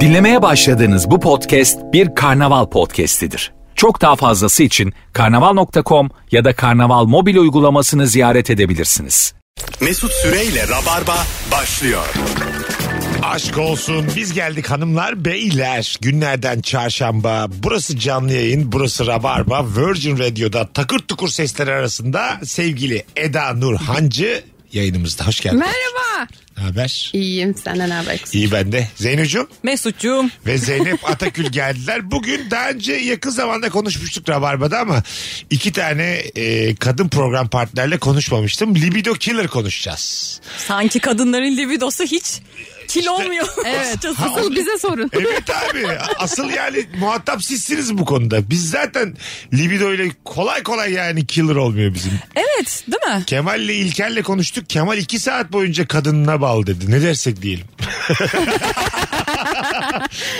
Dinlemeye başladığınız bu podcast bir karnaval podcastidir. Çok daha fazlası için karnaval.com ya da karnaval mobil uygulamasını ziyaret edebilirsiniz. Mesut Süreyle Rabarba başlıyor. Aşk olsun. Biz geldik hanımlar beyler. Günlerden çarşamba. Burası canlı yayın. Burası Rabarba. Virgin Radio'da takır tukur sesler arasında sevgili Eda Nur Hancı yayınımızda. Hoş geldin. Merhaba. Ne haber? İyiyim senden ne haber? kızım? İyi ben de. Zeynocuğum Mesut'cuğum. ve Zeynep Atakül geldiler. Bugün daha önce yakın zamanda konuşmuştuk Rabarba'da ama iki tane e, kadın program partnerle konuşmamıştım. Libido Killer konuşacağız. Sanki kadınların libidosu hiç kil olmuyor. Evet. Asıl bize sorun. Evet abi asıl yani muhatap sizsiniz bu konuda. Biz zaten libido ile kolay kolay yani killer olmuyor bizim. evet değil mi? Kemal'le İlker'le konuştuk. Kemal iki saat boyunca kadınına bal dedi. Ne dersek diyelim.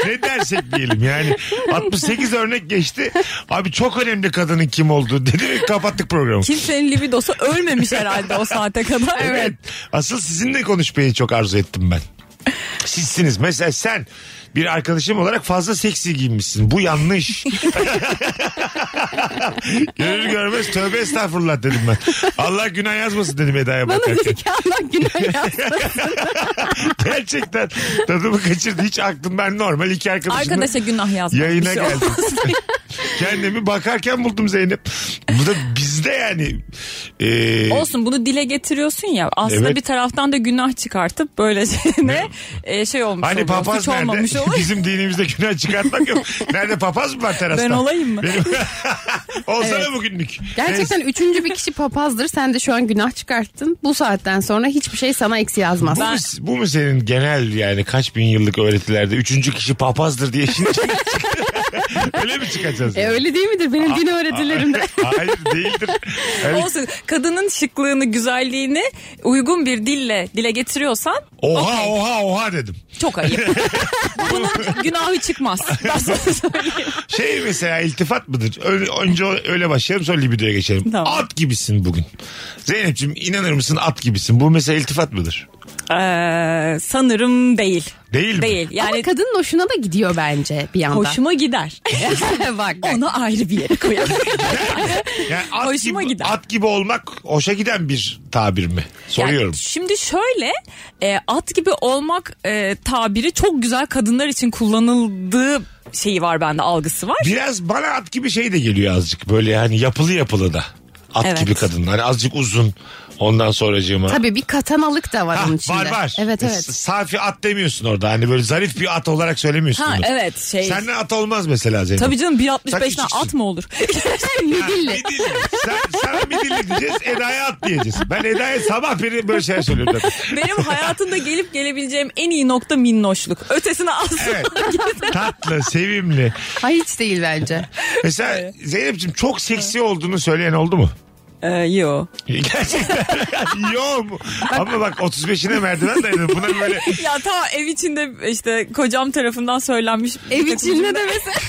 ne dersek diyelim yani 68 örnek geçti. Abi çok önemli kadının kim olduğu dedi ve kapattık programı. Kimsenin libidosu ölmemiş herhalde o saate kadar. Evet. Asıl sizinle konuşmayı çok arzu ettim ben. Sizsiniz. Mesela sen bir arkadaşım olarak fazla seksi giyinmişsin. Bu yanlış. Görür görmez tövbe estağfurullah dedim ben. Allah günah yazmasın dedim Eda'ya Bana bakarken. dedi ki Allah günah yazsın. Gerçekten tadımı kaçırdı. Hiç aklım ben normal iki arkadaşımla Arkadaşa günah yazmak. yayına bir şey geldim. olmaz. Kendimi bakarken buldum Zeynep. Bu da bizde yani. Ee, Olsun bunu dile getiriyorsun ya aslında Evet. bir taraftan da günah çıkartıp böylece ne e, şey olmuş Hani oluyor. papaz Hiç nerede? olmamış oluyor. Bizim dinimizde günah çıkartmak yok. Nerede papaz mı var terasta? Ben olayım mı? Benim... Olsana bugünlük. Gerçekten Neyse. üçüncü bir kişi papazdır. Sen de şu an günah çıkarttın. Bu saatten sonra hiçbir şey sana eksi yazmaz. Bu, mu, bu mu senin genel yani kaç bin yıllık öğretilerde üçüncü kişi papazdır diye şimdi Öyle mi çıkacağız? E öyle değil midir benim din öğretilerimde? Hayır değildir. Yani Olsun kadının şıklığını güzelliğini uygun bir dille dile getiriyorsan oha okey. oha oha dedim. çok ayıp. Bunun günahı çıkmaz. Ben sana söyleyeyim. Şey mesela iltifat mıdır? Öyle, önce o- öyle başlayalım sonra libidoya geçelim. Tamam. At gibisin bugün. Zeynep'ciğim inanır mısın at gibisin. Bu mesela iltifat mıdır? Ee, sanırım değil. Değil mi? Değil. Yani Ama kadının hoşuna da gidiyor bence bir yandan. hoşuma gider. Bak. Onu ayrı bir yere koyalım. Yani at Hoşuma gibi, gider. At gibi olmak hoşa giden bir tabir mi? Soruyorum. Yani şimdi şöyle e, at gibi olmak e, tabiri çok güzel kadınlar için kullanıldığı şeyi var bende algısı var. Biraz bana at gibi şey de geliyor azıcık. Böyle hani yapılı yapılı da. At Evet. gibi kadın. Hani azıcık uzun. Ondan sonracığıma. Tabii bir katanalık da var Ha, onun içinde. var var. Evet E, evet. Safi at demiyorsun orada. Hani böyle zarif bir at olarak söylemiyorsun Ha bunu. evet şey. Senden at olmaz mesela Zeynep. Tabii canım Takipçisin. 1.65'ten at mı olur? Midilli. Midilli. Sen, sana midilli diyeceğiz. Eda'ya at diyeceğiz. Ben Eda'ya sabah beri böyle şeyler söylüyorum. zaten. Benim hayatımda gelip gelebileceğim en iyi nokta minnoşluk. Ötesine asla Evet. Tatlı, sevimli. Ay hiç değil bence. Mesela Zeynep'ciğim çok seksi olduğunu söyleyen oldu mu? Ee, yo. Gerçekten. Yo mu? Ama bak 35'ine merdiven dayadı. Buna böyle Ya ta ev içinde işte kocam tarafından söylenmiş. Ev içinde de mesela.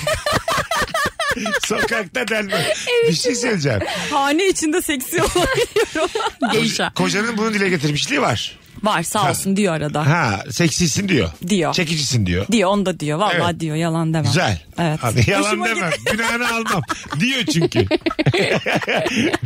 sokakta delme. bir şey söyleyeceğim. Hane içinde seksi olabiliyorum. Geisha. Kocanın bunu dile getirmişliği var. Var sağ olsun diyor arada. Ha seksisin diyor. Diyor. Çekicisin diyor. Diyor onu da diyor. Vallahi Evet. diyor yalan demem. Güzel. Evet. Abi, yalan Hoşuma demem. gitti. Günahını almam. Diyor çünkü.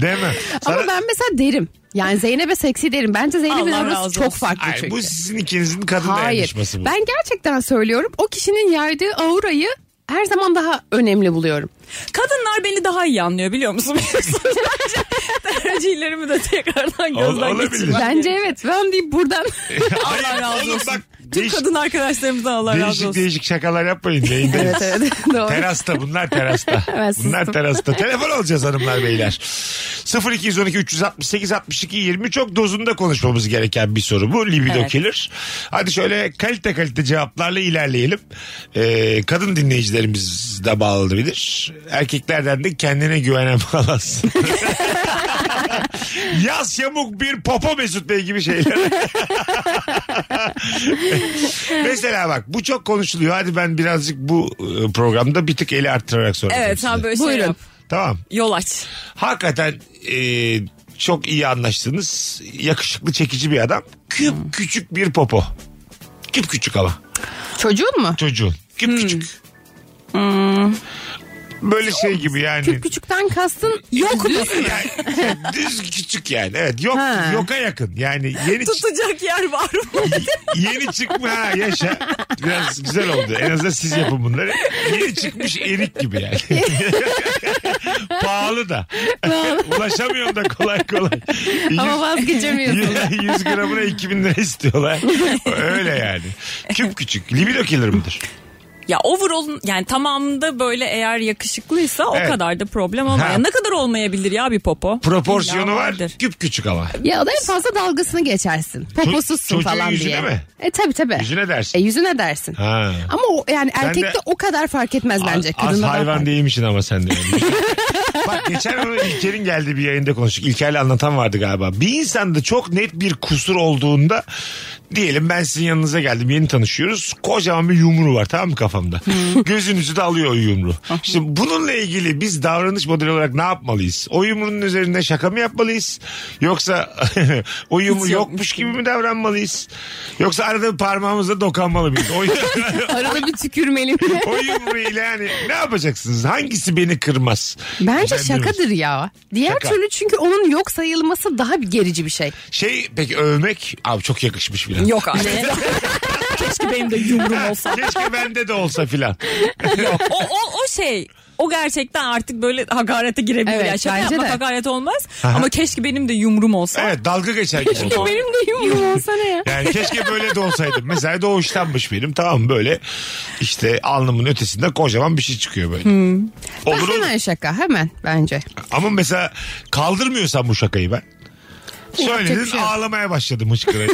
demem. Sana- Ama ben mesela derim. Yani Zeynep'e seksi derim. Bence Zeynep'in Allah orası razı çok olsun. farklı Ay, çünkü. bu sizin ikinizin kadın Hayır. dayanışması bu. Ben gerçekten söylüyorum. O kişinin yaydığı aurayı her zaman daha önemli buluyorum. Kadınlar beni daha iyi anlıyor biliyor musun? Tercihlerimi de tekrardan Ol- gözden olabilir. geçirmem. Bence evet. Ben deyip buradan Hayır, Allah razı oğlum olsun. bak, Tüm değiş- kadın arkadaşlarımıza Allah razı Değişik olsun. değişik şakalar yapmayın. Yayındayız. evet evet doğru. Terasta bunlar terasta. Ben sustum. bunlar terasta. Telefon alacağız hanımlar beyler. 0212 368 62 20 çok dozunda konuşmamız gereken bir soru bu. Libido Evet. killer. Hadi şöyle kalite kalite cevaplarla ilerleyelim. Ee, kadın dinleyicilerimiz de bağlanabilir. Erkeklerden de kendine güvenen bağlansın. Yaz yamuk bir popo Mesut Bey gibi şeyler. Mesela bak bu çok konuşuluyor. Hadi ben birazcık bu e, programda bir tık eli arttırarak soracağım. Evet sen size. böyle şey Buyurun. yap. Tamam. Yol aç. Hakikaten e, Hmm. çok iyi anlaştınız. Yakışıklı çekici bir adam. Küp küçük bir popo. Küp küçük ama Çocuğun mu? çocuğun. Küp Hmm. küçük. Böyle şey gibi yani. Küp küçükten kastın Yok mu? düz mü? Yani düz küçük yani. Evet yok Ha. yoka yakın. Yani yeni çı- Tutacak yer var mı? yeni çıkma ha yaşa. Biraz güzel oldu. En azından siz yapın bunları. Yeni çıkmış erik gibi yani. Pahalı da. Ulaşamıyorum da kolay kolay. Ama vazgeçemiyorsun. 100 gramına 2000 lira istiyorlar. Öyle yani. Küp küçük. Libido killer midir? Ya overall'un yani tamamında böyle eğer yakışıklıysa Evet. o kadar da problem olmuyor. Ha. Ne kadar olmayabilir ya bir popo? Proporsiyonu İlla var. vardır. Küp küçük ama. ya da en fazla dalgasını geçersin. Poposuzsun çocuğun falan yüzüne diye. mi? E tabi tabi. Yüzüne dersin. E yüzüne dersin. Ha. Ama o, yani de- erkekte o kadar fark etmez bence. Az- Az Kadında da hayvan fark- değilmişsin ama sen de. yani. Bak geçen onu İlker'in geldiği bir yayında konuştuk. İlker'le anlatan vardı galiba. Bir insanda çok net bir kusur olduğunda diyelim ben sizin yanınıza geldim yeni tanışıyoruz. Kocaman bir yumru var tamam mı kafamda? Gözünüzü de alıyor o yumru. Şimdi bununla ilgili biz davranış modeli olarak ne yapmalıyız? O yumrunun üzerinde şaka mı yapmalıyız? Yoksa o yumru Hiç yokmuş yokmuş gibi mi davranmalıyız? Yoksa arada bir parmağımızla dokanmalı mıyız? O- Arada bir tükürmeli mi? o yumruğuyla yani ne yapacaksınız? Hangisi beni kırmaz? Bence Ben diyorum. şakadır ya. Diğer Şaka. türlü çünkü onun yok sayılması daha bir gerici bir şey. Şey peki övmek abi çok yakışmış filan. Yok abi. Keşke benim de yumrum olsa. Keşke bende de olsa filan. Yok. O, o, o şey o gerçekten artık böyle hakarete girebilir. Evet, ya. Şaka bence yapmak de. hakaret olmaz. Ama keşke benim de yumrum olsa. Evet dalga geçer gibi olsa. Benim de yumruğum olsa ne ya? Yani keşke böyle de olsaydım. Mesela doğuştanmış benim tamam böyle işte alnımın ötesinde kocaman bir şey çıkıyor böyle. Hmm. Olur olur. hemen şaka hemen bence. Ama mesela kaldırmıyorsan bu şakayı ben. Söyledin bir şey yok. ağlamaya başladım hıçkıra.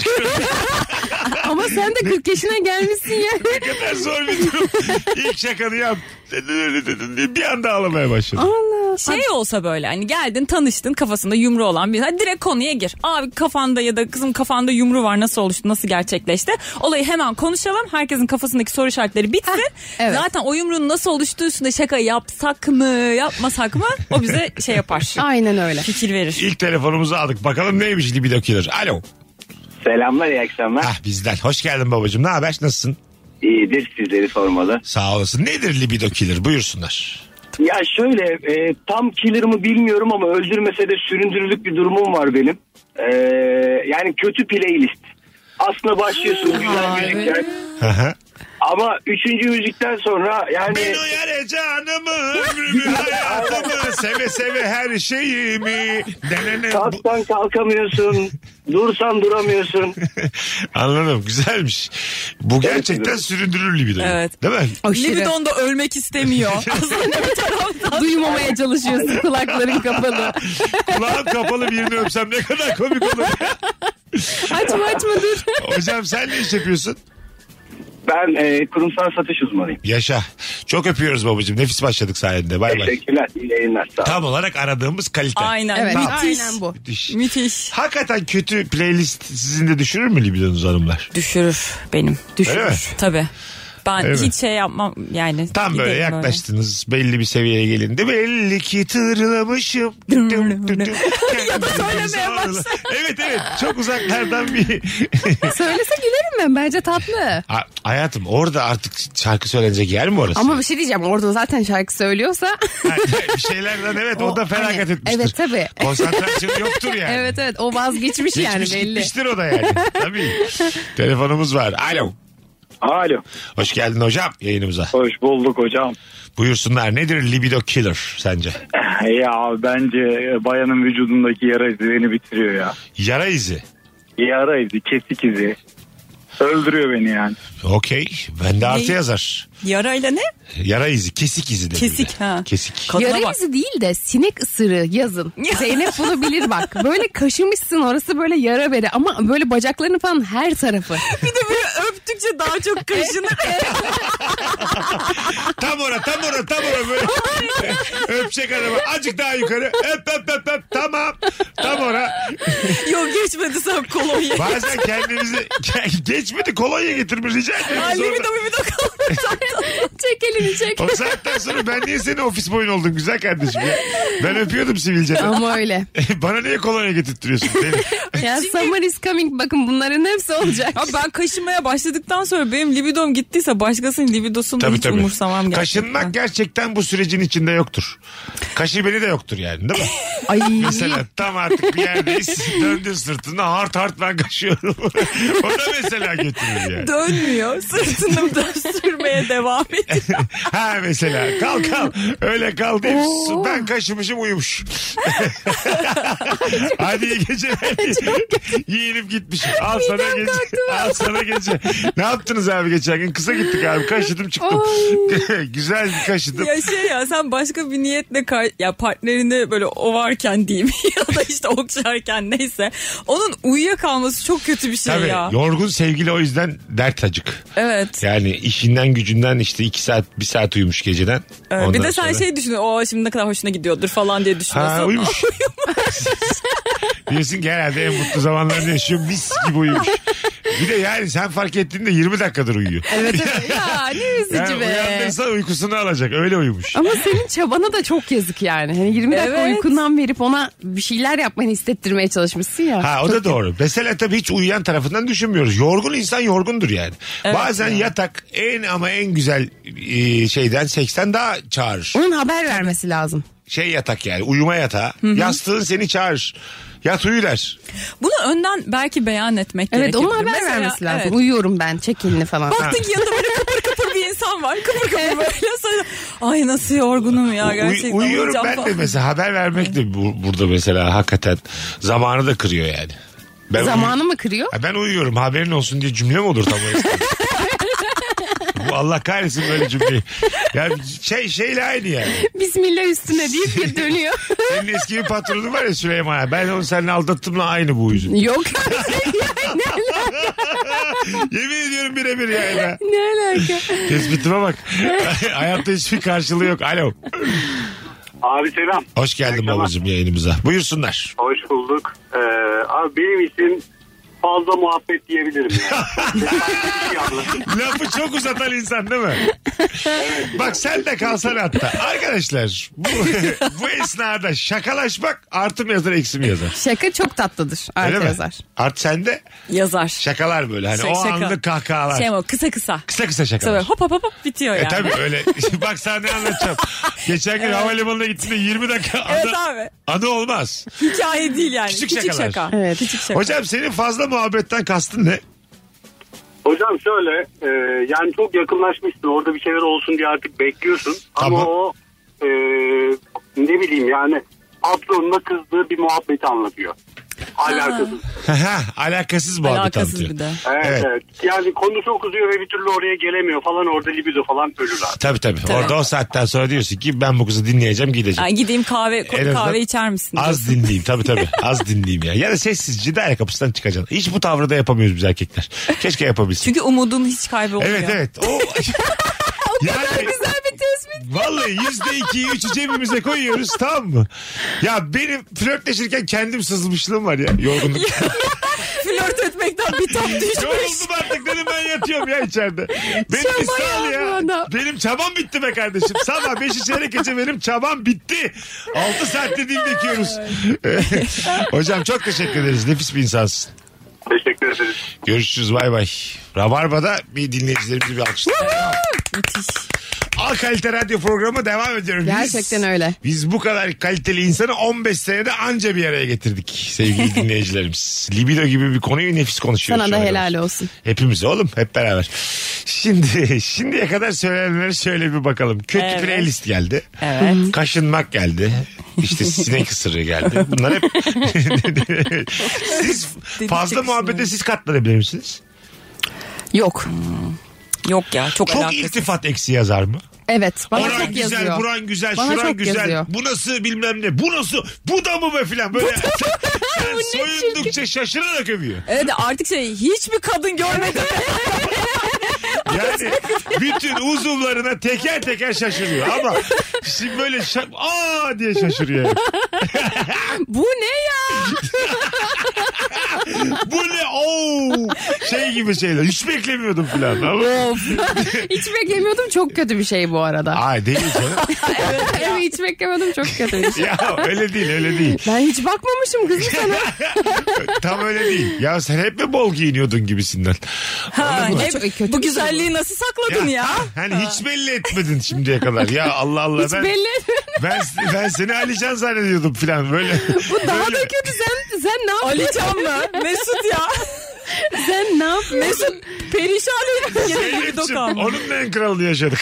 Ama sen de 40 yaşına gelmişsin yani. ne kadar zor bir durum. İlk şakanı yap. Bir anda ağlamaya başladım. Şey olsa böyle hani geldin tanıştın kafasında yumru olan bir. Hadi direkt konuya gir. Abi kafanda ya da kızım kafanda yumru var nasıl oluştu nasıl gerçekleşti. Olayı hemen konuşalım. Herkesin kafasındaki soru işaretleri bitsin. evet. Zaten o yumruğun nasıl oluştuğu üstünde şaka yapsak mı yapmasak mı o bize şey yapar. Aynen öyle. fikir verir. İlk telefonumuzu aldık. Bakalım neymiş libido killer. Alo. Selamlar iyi akşamlar. Ah bizden. Hoş geldin babacığım. Ne haber? Nasılsın? İyidir sizleri sormalı. Sağ olasın. Nedir libido killer? Buyursunlar. Ya şöyle e, tam killer mı bilmiyorum ama öldürmese de süründürülük bir durumum var benim. E, yani kötü playlist. Aslında başlıyorsun güzel müzikler. Hı hı. Ama üçüncü müzikten sonra yani ben o yere canımı, ömrümü, hayatımı, seve seve her şeyimi. Denene. Bu- kalktan kalkamıyorsun. dursan duramıyorsun. Anladım. Güzelmiş. Bu gerçekten süründürür libido. Evet. Değil mi? Aşırı. Libidon da ölmek istemiyor. Aslında bir taraftan. Duymamaya çalışıyorsun kulakların kapalı. Kulağım kapalı birini öpsem ne kadar komik olur. Açma açma dur. Hocam sen ne iş yapıyorsun? Ben e, kurumsal satış uzmanıyım. Yaşa. Çok öpüyoruz babacığım. Nefis başladık sayende. Bay bay. Teşekkürler. iyi yayınlar. Sağ olun. Tam olarak aradığımız kalite. Aynen. Evet Müthiş. aynen bu. Müthiş. Müthiş. Hakikaten kötü playlist sizin de düşürür mü libidonuzu hanımlar? Düşürür benim. Düşürür. Öyle mi? Tabii. Ben Öyle mi? hiç şey yapmam yani. Tam böyle Giderim yaklaştınız belli bir seviyeye gelindi. Belli ki tırlamışım. Düm düm düm düm. söylemeye başladı. evet evet çok uzaklardan bir... Söylese gülerim ben bence tatlı. Ha, hayatım orada artık şarkı söylenecek yer mi orası? Ama bir şey diyeceğim orada zaten şarkı söylüyorsa. Ha, bir şeylerden evet o, da felaket hani, etmiştir. evet, tabii. Konsantrasyon yoktur yani. evet evet o vazgeçmiş yani Geçmiş belli. gitmiştir o da yani. Tabii. Telefonumuz var. Alo. Alo. Hoş geldin hocam yayınımıza. Hoş bulduk hocam. Buyursunlar nedir libido killer sence? Ya bence bayanın vücudundaki yara izi beni bitiriyor ya. Yara izi. Yara izi, kesik izi. Öldürüyor beni yani. Okey. Bende artı Ne? yazar. Yarayla ne? Yara izi. Kesik izi dedi. Kesik, bir de. ha. Kesik. Kadına Yara bak. izi değil de sinek ısırığı yazın. Zeynep bunu bilir bak. Böyle kaşımışsın orası böyle yara bere ama böyle bacaklarını falan her tarafı. Bir de böyle öptükçe daha çok kaşınır. tam ora tam ora tam ora böyle. Öpecek adamı. Azıcık daha yukarı. Öp öp öp öp. Tamam. Tam ona Yok geçmedi sen kolonya. bazen kendimizi Ge- geçmedi kolonya getirmiş rica ediyorum. Ay Sonra- libido mibido çek elini çek. O saatten sonra ben niye senin ofis boyun oldum güzel kardeşim ya? Ben öpüyordum sivilce. Ama öyle. Bana niye kolonya getirtiyorsun? Deli. Ya summer is coming bakın bunların hepsi olacak. Ya ben kaşınmaya başladıktan sonra benim libidom gittiyse başkasının libidosunu Tabii hiç tabii. umursamam gerçekten. Kaşınmak gerçekten bu sürecin içinde yoktur. Kaşı beni de yoktur yani değil mi? Ay mesela tam artık bir yerdeyiz. Döndün sırtına hart hart ben kaşıyorum. o da mesela götürür yani. Dönmüyor. Sırtını da sürmeye devam ediyor. ha mesela kal kal öyle kal deyip su- ben kaşımışım uyumuş. Hadi iyi geceler. Yiyelim gitmişim. Al sana gece. Al sana gece. Ne yaptınız abi geçen gün? Kısa gittik abi. Kaşıdım çıktım. Güzel bir kaşıdım. ya şey ya sen başka bir niyetle kar- ya partnerini böyle ovarken diyeyim ya da işte okşarken neyse. Onun uyuyakalması çok kötü bir şey Tabii ya. yorgun sevgili o yüzden dert acık. Evet. Yani işinden gücünden işte iki saat bir saat uyumuş geceden. Evet, Ondan bir de sen sonra- şey düşünüyorsun. O şimdi ne kadar hoşuna gidiyordur falan diye düşünüyorsun. Ha uyumuş. Diyorsun ki herhalde en mutlu zamanlarını yaşıyor mis gibi uyumuş. Bir de yani sen fark ettiğinde 20 dakikadır uyuyor. evet evet. Ya ne Yani üzücü be. uyandıysa uykusunu alacak öyle uyumuş. Ama senin çabana da çok yazık yani. Hani 20 dakika Evet. uykundan verip ona bir şeyler yapmanı hissettirmeye çalışmışsın ya. Ha o da doğru. Mesela tabii hiç uyuyan tarafından düşünmüyoruz. Yorgun insan yorgundur yani. Bazen yatak en ama en güzel e, şeyden 80 daha çağırır. Onun haber vermesi lazım. Şey yatak yani uyuma yatağı. Yastığın seni çağırır. Yat uyu der. Bunu önden belki beyan etmek Evet gerekebilir. onun haber Mesela, vermesi lazım. evet. Uyuyorum ben çek elini falan. Baktın ki yanında böyle kıpır kıpır bir insan var. Kıpır kıpır böyle. Sonra, Ay nasıl yorgunum ya Uy- gerçekten. uyuyorum uyuyacağım ben de falan. mesela haber vermek de bu- burada mesela hakikaten zamanı da kırıyor yani. Ben Zamanı mı kırıyor? Ha, ben uyuyorum haberin olsun diye cümle mi olur tam o esnada? Bu Allah kahretsin böyle cümleyi. Ya şey şeyle aynı yani. Bismillah üstüne deyip geri dönüyor. Senin eski bir patronun var ya Süleyman. abi. Ben onu seninle aldattımla aynı bu yüzüm. Yok. Yemin ediyorum birebir yani. ben. ne alaka? Tespitime bak. Hayatta hiçbir karşılığı yok. Alo. Abi selam. Hoş geldin Selam. babacığım yayınımıza. Buyursunlar. Hoş bulduk. Ee, abi benim için fazla muhabbet diyebilirim yani. Lafı çok uzatan insan değil mi? Bak sen de kalsan hatta. Arkadaşlar bu, bu esnada şakalaşmak artı mı yazar eksi mi yazar? Şaka çok tatlıdır. Öyle Artı mi? yazar. Art sende Yazar. şakalar böyle. Hani Şaka- o Şey, şaka. anlık kahkahalar. Şey o kısa kısa. kısa kısa Kısa böyle şakalar. hop hop hop hop bitiyor yani. E tabii öyle. Bak sana ne anlatacağım. Geçen gün havalimanına gittiğimde 20 dakika adı, Evet abi. adı olmaz. Hikaye değil yani. Küçük Küçük, şakalar. şaka. Evet. Küçük şaka. Hocam senin fazla muhabbetten kastın ne? Hocam şöyle e, yani çok yakınlaşmışsın orada bir şeyler olsun diye artık bekliyorsun. Tamam. Ama o e, ne bileyim yani patronuna kızdığı bir muhabbeti anlatıyor. Alakasız. Alakasız muhabbet Alakasız anlatıyor. bir de. Evet, Evet. evet. Yani konu çok uzuyor ve bir türlü oraya gelemiyor falan orada libido falan ölür abi. Tabii tabii. Orada o saatten sonra diyorsun ki ben bu kızı dinleyeceğim gideceğim. Yani gideyim kahve ko- En azından kahve içer misin? Az dinleyeyim tabii tabii. Az dinleyeyim ya. Ya da sessizce daire kapısından çıkacaksın. Hiç bu tavrı da yapamıyoruz biz erkekler. Keşke yapabilsin. Çünkü umudun hiç kaybolmuyor. evet evet. O, yani, güzel bir tespit. Vallahi yüzde ikiyi üçü cebimize koyuyoruz tamam mı? Ya benim flörtleşirken kendim sızmışlığım var ya yorgunluk. Flört etmekten bir top düşmüş. Yoruldum artık dedim ben yatıyorum ya içeride. Benim Çaba bir sal ya bu ya. adam. Benim çabam bitti be kardeşim. Sabah 5 içeri gece benim çabam bitti. 6 saatte dil döküyoruz. Hocam çok teşekkür ederiz. Nefis bir insansın. Teşekkür ederiz. Görüşürüz bay bay. Rabarba'da bir dinleyicilerimizi bir alkışlayalım. Müthiş. Al kalite radyo programı devam ediyorum. Gerçekten öyle. Biz bu kadar kaliteli insanı 15 senede anca bir araya getirdik sevgili dinleyicilerimiz. Libido gibi bir konuyu nefis konuşuyoruz. Sana da şu ana helal kadar. olsun. Hepimiz oğlum hep beraber. Şimdi şimdiye kadar söylenenlere şöyle bir bakalım. Kötü Evet. playlist geldi. Evet. Kaşınmak geldi. İşte sinek ısırığı geldi. Bunlar hep siz fazla çekişme. muhabbete siz katlanabilir misiniz? Yok. Hmm. Yok ya çok, Çok alakasız. iltifat eksi yazar mı? Evet. Bana Oran çok güzel, yazıyor. buran güzel, Bana şuran çok güzel. yazıyor. Bu nasıl bilmem ne, bu nasıl, bu da mı be filan böyle. sen, sen soyundukça şaşırarak övüyor. Evet artık şey hiçbir kadın görmedim. Yani bütün bütün uzuvlarına teker teker şaşırıyor ama şimdi böyle şa- aa diye şaşırıyor. yani. Bu ne ya? Bu ne oo şey gibi şeyler hiç beklemiyordum filan. Ama- hiç beklemiyordum çok kötü bir şey bu arada. Ay değil canım. Hem hiç beklemiyordum çok kötü bir şey. Ya öyle değil öyle değil. Ben hiç bakmamışım kızım sana. Tam öyle değil. Ya sen hep mi bol giyiniyordun gibisinden. Ha, Bu ne- çok- kötü bu bir şey güzelliği nasıl sakladın ya? Hani hiç belli etmedin şimdiye kadar. Ya Allah Allah. Hiç ben, belli Ben, ben seni Alican zannediyordum filan böyle. Bu daha Böyle- da kötü sen sen ne yapıyorsun? Ali Can mı? Mesut ya. Sen ne yapıyorsun? Mesut perişan edip yere gibi Zeynep'ciğim, dokan. onun da en kralını yaşadık.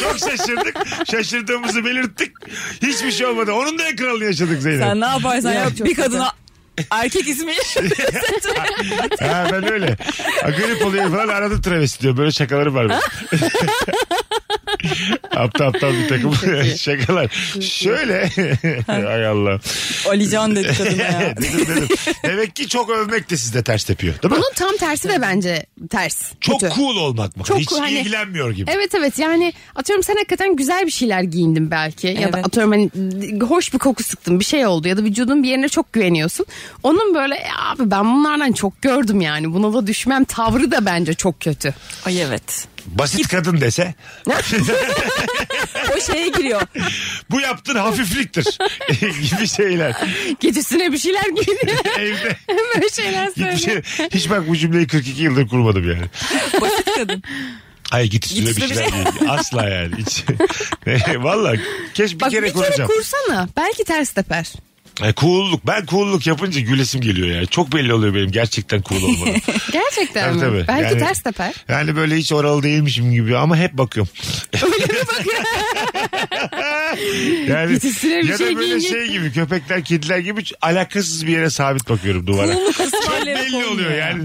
Çok şaşırdık. Şaşırdığımızı belirttik. Hiçbir şey olmadı. Onun da en kralını yaşadık Zeynep. Sen ne yaparsan Ya, ya, çok bir kadına erkek ismi Ha, ben öyle. Ha, Grip oluyor falan aradım travesti diyor. Böyle şakaları var. benim. aptal aptal bir takım şakalar. Şöyle. Ay Allah. Ali Can dedi kadına ya. dedim dedim. Demek ki çok övmek de sizde ters tepiyor. Değil mi? Bunun tam tersi de bence ters. Çok kötü. cool olmak mı? Çok Hiç cool, hani- ilgilenmiyor gibi. Evet evet yani atıyorum sen hakikaten güzel bir şeyler giyindin belki ya da Evet. atıyorum hani hoş bir koku sıktın bir şey oldu ya da vücudun bir yerine çok güveniyorsun. Onun böyle "E abi ben bunlardan çok gördüm yani buna da düşmem tavrı da bence çok kötü. Ay evet. Basit kadın dese O şeye giriyor. bu yaptığın hafifliktir gibi şeyler. Gecesine bir şeyler giydi Evde böyle şeyler Hiçbir söylüyor. şey- hiç bak bu cümleyi 42 yıldır kurmadım yani. Basit kadın. Hayır git üstüne Git bir üstüne bir şeyler şey. değil. Asla yani. Hiç. Valla keşke bir Bak kere bir kere kuracağım. kursana belki ters teper. Ay, cool'luk. Ben cool'luk yapınca gülesim geliyor yani. Çok belli oluyor benim gerçekten cool olmam. Gerçekten Tabii mi? tabii. Belki Yani- ters teper. yani böyle hiç oralı değilmişim gibi ama hep bakıyorum. Öyle bir bak Yani Gecesine bir ya şey da böyle giyinecek. şey gibi köpekler kediler gibi hiç alakasız bir yere sabit bakıyorum duvara. Kulluk Çok ısmarlayarak belli olmuyor. oluyor yani.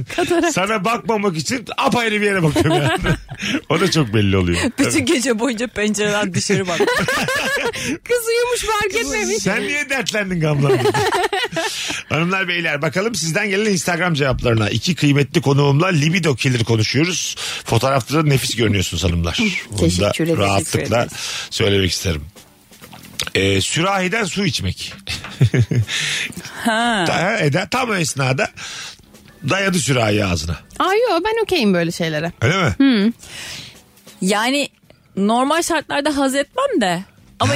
Sana bakmamak için apayrı bir yere bakıyorum yani. o da çok belli oluyor. Bütün gece boyunca pencereden dışarı bak. kız uyumuş fark etmemiş. Sen niye dertlendin gamlandın? Hanımlar beyler bakalım sizden gelen Instagram cevaplarına. İki kıymetli konuğumla libido killer konuşuyoruz. Fotoğrafta da nefis görünüyorsunuz hanımlar. Bunu da Teşekkür ederiz. Rahatlıkla söylemek isterim. Ee, sürahiden su içmek. Ha. Ta- eda- Tam o esnada dayadı sürahi ağzına. Aa yok ben okeyim böyle şeylere. Öyle mi? Yani normal şartlarda haz etmem de. Ama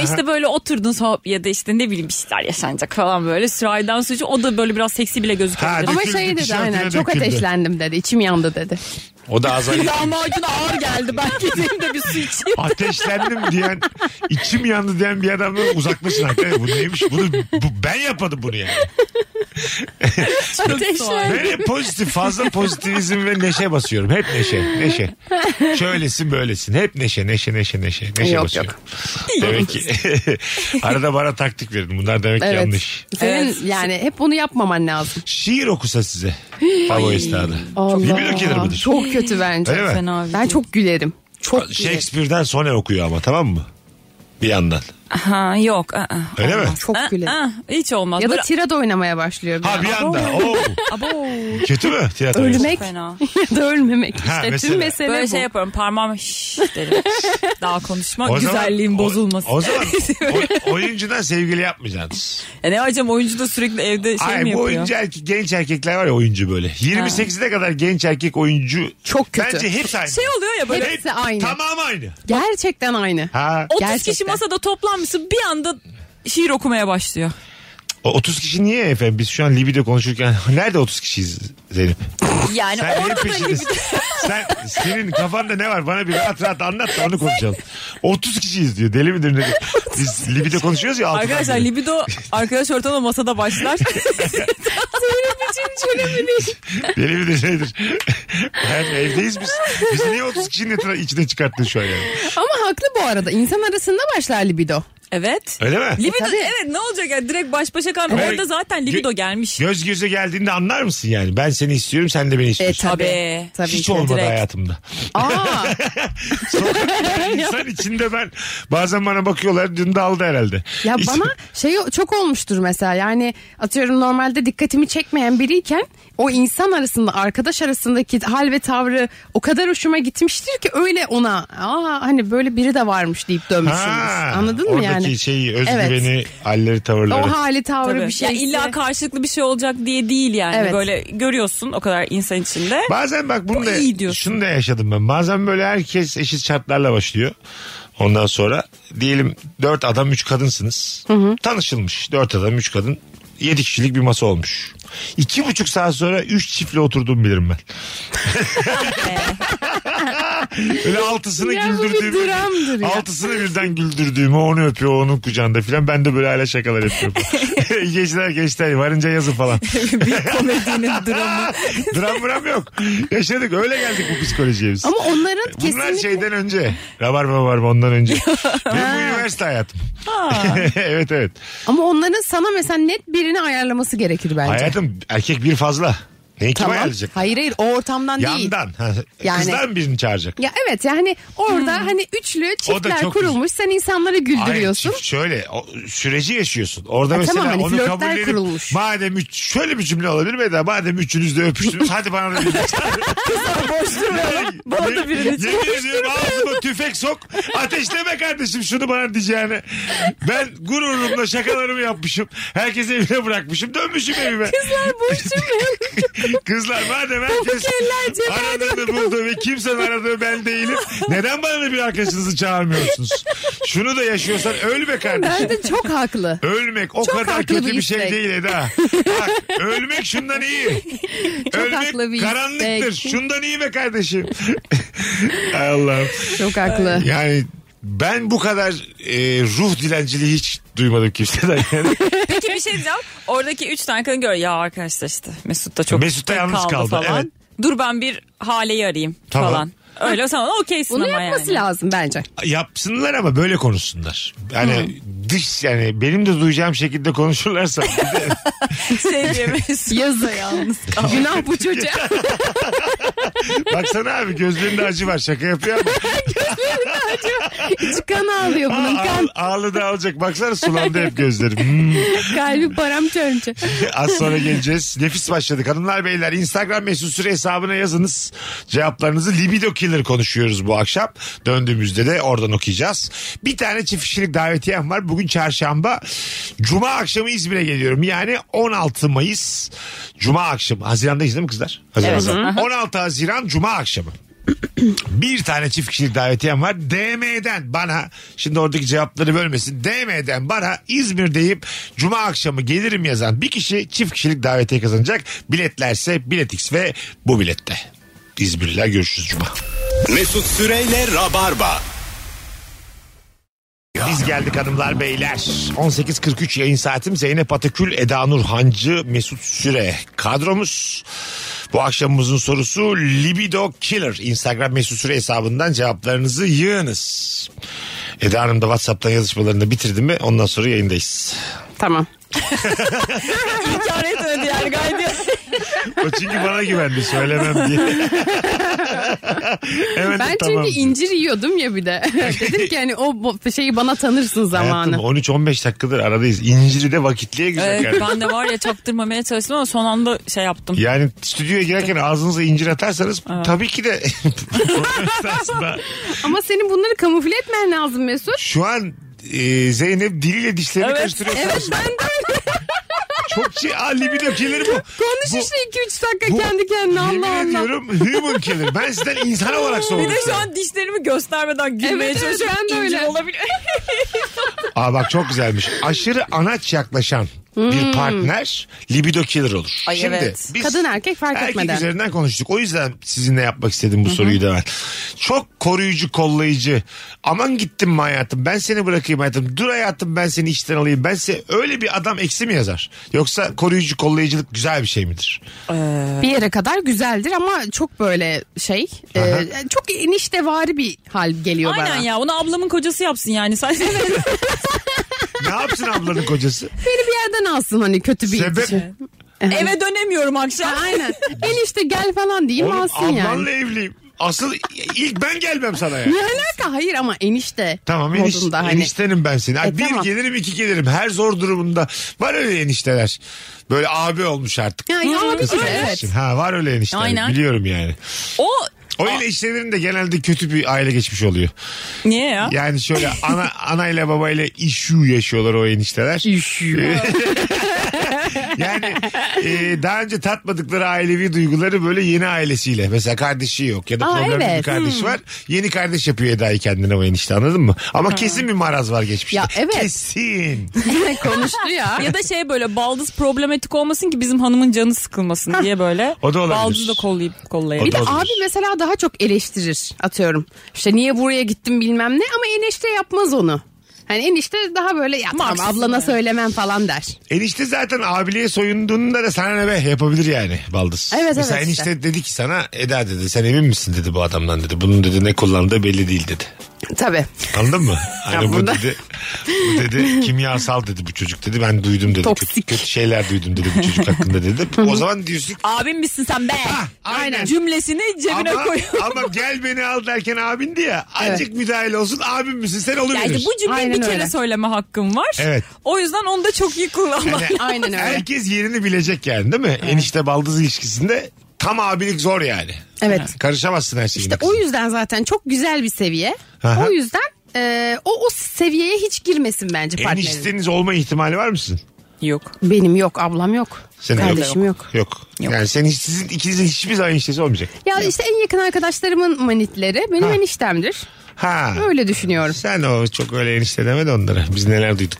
işte böyle oturdun sohbet ya da işte ne bileyim bir şeyler yaşanacak falan böyle. Sürahiden su için o da böyle biraz seksi bile gözükebilir. Ha, Ama Döküldü, şey dedi tişörtüne aynen çok döküldü. ateşlendim dedi içim yandı dedi. O da azar. Lahmacun ağır geldi. Ben gideyim de bir su içeyim. Ateşlendim diyen, içim yandı diyen bir adamdan uzaklaşın arkadaşlar. Bu neymiş? Bunu, bu, ben yapmadım bunu yani. Ateşler. Ben hep pozitif fazla pozitivizm ve neşe basıyorum. Hep neşe neşe. Şöylesin böylesin. Hep neşe neşe neşe neşe. Neşe Yok, basıyorum. Demek ki arada bana taktik verin. Bunlar demek ki Evet. yanlış. Senin Evet. yani hep bunu yapmaman lazım. Şiir okusa size. Hava esnada. Libido killer mıdır? Çok kötü bence. Öyle mi? Şey- Fena bir Ben çok gülerim. Çok gülerim. Shakespeare'den Sone okuyor ama tamam mı? Bir yandan. Ha yok. ı-ı, Öyle mi? olmaz. Çok I-ı, ı-ı, gülerim. hiç olmaz. Ya da Böyle- tirada oynamaya başlıyor. bir Ha an. bir anda. Oo. Abo. Kötü mü? Tiyatro. Ölmek Fena. ya da ölmemek işte. Ha, mesela. Tüm mesele Böyle bu. şey yaparım parmağım şşş derim. Daha konuşma O zaman- güzelliğin o- bozulmasın. O, zaman o- oyuncudan sevgili yapmayacaksınız. E ne hocam oyuncu da sürekli evde şey Ay mi bu yapıyor? oyuncu erkek, genç erkekler var ya oyuncu böyle. 28'e kadar genç erkek oyuncu. Çok kötü. Bence hepsi aynı. Şey oluyor ya böyle Hep- hepsi aynı. Tamam aynı. Gerçekten aynı. Ha. 30 kişi Gerçekten. masada toplanmışsın bir anda şiir okumaya başlıyor. O 30 kişi niye efendim? Biz şu an libido konuşurken nerede 30 kişiyiz Zeynep? Yani Sen neyin orada da peşindesin? Sen senin kafanda ne var? Bana bir rahat rahat anlat da onu konuşalım. 30 kişiyiz diyor. Deli midir nedir? Biz libido konuşuyoruz ya. altıdan Arkadaşlar beri. libido arkadaş ortamında masada başlar. Deli midir nedir? Hem evdeyiz biz. Bizi niye 30 kişinin etra- içine çıkarttın şu an yani? Ama haklı bu arada. İnsan arasında başlar libido. Evet. Öyle mi? Libido tabii. evet ne olacak yani direkt baş başa kalmış. E, Evet. Orada zaten libido Gö- gelmiş. Göz göze geldiğinde anlar mısın yani? Ben seni istiyorum sen de beni istiyorsun. tabii. E, Tabii Hiç ki. olmadı direkt. hayatımda. Aa, İnsan içinde ben bazen bana bakıyorlar dün de aldı herhalde. ya İşte- bana şey çok olmuştur mesela yani atıyorum normalde dikkatimi çekmeyen biriyken o insan arasında arkadaş arasındaki hal ve tavrı o kadar hoşuma gitmiştir ki öyle ona aa hani böyle biri de varmış deyip dönmüşsünüz. Ha, Anladın mı yani? Oradaki şeyi özgüveni, halleri, tavırları. O hali tavrı Tabii. bir şey. Ya illa karşılıklı bir şey olacak diye değil yani. Evet. Böyle görüyorsun o kadar insan içinde. Bazen bak bunu Bu da, iyi diyorsun. şunu da yaşadım ben. Bazen böyle herkes eşit şartlarla başlıyor. Ondan sonra diyelim dört adam üç kadınsınız. Tanışılmış dört adam üç kadın. Yedi kişilik bir masa olmuş. İki buçuk saat sonra üç çiftle oturduğumu bilirim ben. Öyle altısını Ya bu bir güldürdüğümü. dramdır ya. Altısını birden güldürdüğümü onu öpüyor onun kucağında filan. Ben de böyle hala şakalar yapıyorum. İyi geceler gençler varınca yazın falan. bir komedinin dramı. Dram dram yok. Yaşadık öyle geldik bu psikolojiye biz. Ama onların Bunlar şey- kesinlikle şeyden önce. Rabarba var mı ondan önce. Benim bu üniversite hayatım. evet evet. ama onların sana mesela net birini ayarlaması gerekir bence. Hayatım erkek bir fazla. Neyi kim tamam. ayarlayacak? Hayır hayır o ortamdan değil. Yandan. Ha, Yani- Kızlar mı birini çağıracak? Ya evet yani orada Hmm. hani üçlü çiftler çok kurulmuş sen insanları güldürüyorsun. Hayır, şöyle o, süreci yaşıyorsun. Orada Ha, mesela tamam, hani onu flörtler kabul edip kurulmuş. madem üç, şöyle bir cümle olabilir mi Eda? Madem üçünüz de öpüştünüz hadi bana da bir Boş durmayalım. Bana da birini Yemin ediyorum ağzıma tüfek sok. Ateşleme kardeşim şunu bana diyeceğine. Ben gururumla şakalarımı yapmışım. Herkesi evine bırakmışım. Dönmüşüm evime. Kızlar boş cümle. Kızlar madem herkes keller cebine aradığını buldu ve kimsenin aradığı ben değilim. Neden bana bir arkadaşınızı çağırmıyorsunuz? Şunu da yaşıyorsan öl be kardeşim. Bence çok haklı. Ölmek o Çok kadar haklı kötü bir bir şey istek. değil Eda. Bak, ölmek şundan iyi. haklı ölmek bir karanlıktır. istek. Şundan iyi be kardeşim. Ay Allah'ım. Çok haklı. Yani ben bu kadar e, ruh dilenciliği hiç duymadım kimseden. Yani. Peki bir şey diyeceğim. Oradaki üç tane kadın görüyor. Ya arkadaşlar işte Mesut da çok Mesut da tek yalnız kaldı, falan. evet. Dur ben bir Hale'yi arayayım Tamam. falan. Öyle sen ona okeysin Bunu ama yapması yani. lazım bence. Yapsınlar ama böyle konuşsunlar. Yani dış yani benim de duyacağım şekilde konuşurlarsa bir de Sevgili Mesut. Yazı yalnız. Günah bu çocuğa. baksana abi gözlerinde acı var şaka yapıyor ama İçi kan ağlıyor bunun Aa, kan. ağ- ağlı da alacak baksana sulandı hep gözlerim. Hmm. Kalbi paramparça. Az sonra geleceğiz. Nefis başladık. Hanımlar beyler Instagram mesut süre hesabına yazınız. Cevaplarınızı libido killer konuşuyoruz bu akşam. Döndüğümüzde de oradan okuyacağız. Bir tane çift kişilik davetiyem var. Bugün çarşamba. Cuma akşamı İzmir'e geliyorum. Yani 16 Mayıs Cuma akşamı. Haziran'dayız değil mi kızlar? Haziran. Haziran. 16 Haziran Cuma akşamı. Bir tane çift kişilik davetiyem var. DM'den bana şimdi oradaki cevapları bölmesin. DM'den bana İzmir deyip cuma akşamı gelirim yazan bir kişi çift kişilik davetiye kazanacak. Biletlerse biletix ve bu bilette. İzmirliler görüşürüz cuma. Mesut Süreyle Rabarba. Biz geldik hanımlar beyler. 18.43 yayın saatim Zeynep Atakül, Eda Nur Hancı, Mesut Süre kadromuz. Bu akşamımızın sorusu Libido Killer. Instagram Mesut Süre hesabından cevaplarınızı yığınız. Eda Hanım da Whatsapp'tan yazışmalarını bitirdi mi ondan sonra yayındayız. Tamam. İnkar etmedi yani gayet. O çünkü bana güvendi söylemem diye. Hemen de Ben tamam. çünkü incir yiyordum ya bir de. Dedim ki hani o bo- şeyi bana tanırsın Hayatım zamanı. 13-15 dakikadır aradayız. İnciri de vakitliye güzel. Evet, kardeşim. ben de var ya çaktırmamaya çalıştım ama son anda şey yaptım. Yani stüdyoya girerken ağzınıza incir atarsanız tabii ki de Esasında Ama senin bunları kamufle etmen lazım Mesut. şu an e, Zeynep diliyle dişlerini Evet, karıştırıyor. Evet ben de Çok şey. Aa, libido killer bu. konuş Bu- işte 2-3 dakika bu- kendi kendine Yemin Allah Allah. ediyorum human killer. Ben sizden insan olarak Bir soğudum. de şu an dişlerimi göstermeden gülmeye Evet, evet, çalışıyorum. ben de İncir öyle. olabilir. Aa bak çok güzelmiş. Aşırı anaç yaklaşan bir partner libido killer olur. Ay, evet. biz Hmm. Kadın erkek fark erkek etmeden. üzerinden konuştuk. O yüzden sizinle yapmak istedim bu soruyu da ben. Çok koruyucu, kollayıcı. Aman gittim mi hayatım? Ben seni bırakayım hayatım. Dur hayatım ben seni işten alayım. Ben size öyle bir adam eksi mi yazar? Yoksa koruyucu, kollayıcılık güzel bir şey midir? Bir yere kadar güzeldir ama çok böyle şey e, çok eniştevari bir hal geliyor bana. Aynen ya onu ablamın kocası yapsın yani. Sen ne yapsın ablanın kocası? Beni bir yerden alsın hani kötü bir Sebep? ilişki. Eve dönemiyorum akşam. Aynen. El işte gel falan diyeyim Oğlum alsın yani. ablanla evliyim. Asıl ilk ben gelmem sana ya. Ne alaka? Hayır ama enişte. Tamam eniş, modunda hani. eniştenim ben senin. Ay, E, bir tamam. gelirim iki gelirim. Her zor durumunda. Var öyle enişteler. Böyle abi olmuş artık. Ya, ya abi Kız işte, kardeşin. evet. Ha var öyle enişteler. Aynen. Biliyorum yani. O O eniştelerin de genelde kötü bir aile geçmiş oluyor. niye ya? Yani şöyle ana anayla babayla issue yaşıyorlar o enişteler. Issue. yani e, daha önce tatmadıkları ailevi duyguları böyle yeni ailesiyle. Mesela kardeşi yok ya da Aa, problemli bir evet. Hmm. kardeş var. Yeni kardeş yapıyor Eda'yı kendine o enişte anladın mı? Ama kesin bir maraz var geçmişte. Ya, evet. Kesin. konuştu ya. Ya da şey böyle baldız problematik olmasın ki bizim hanımın canı sıkılmasın diye böyle. O da olabilir. Baldızı da kollayıp O kollayıp. Bir de da olabilir. abi mesela daha çok eleştirir atıyorum. İşte niye buraya gittim bilmem ne ama enişte yapmaz onu. Hani enişte daha böyle ya tamam Marksist ablana mi? söylemem falan der. Enişte zaten abiliğe soyunduğunda da sana ne be yapabilir yani baldız. Evet, Mesela evet enişte işte. dedi ki sana Eda dedi sen emin misin dedi bu adamdan dedi. Bunun dedi ne kullandığı belli değil dedi. Tabii. Anladın mı? Hani bu burada- dedi, bu dedi kimyasal dedi bu çocuk dedi. Ben duydum dedi. Kötü, Toksik. kötü şeyler duydum dedi bu çocuk hakkında dedi. O zaman diyorsun ki, Abim misin sen be? aynen. Cümlesini cebine ama, koy. ama gel beni al derken abindi ya. Azıcık müdahale olsun abim misin sen oluverir. Yani bu cümleyi Aynen bir kere öyle. söyleme hakkım var. Evet. O yüzden onu da çok iyi kullanmak. Yani Aynen öyle. Herkes yerini bilecek yani değil mi? Enişte baldız ilişkisinde tam abilik zor yani. Evet. Karışamazsın her şeyine. İşte o kızım. yüzden zaten çok güzel bir seviye. Aha. O yüzden e, o o seviyeye hiç girmesin bence partnerin. Enişteniz olma ihtimali var mısın? Yok. Benim yok, ablam yok. Senin kardeşim yok. yok. Yani senin sizin ikinizin hiçbir zaman eniştesi olmayacak. Ya işte en yakın arkadaşlarımın manitleri benim Ha. eniştemdir. Ha. Öyle düşünüyorum. Sen o çok öyle enişte deme de onlara. Biz neler duyduk.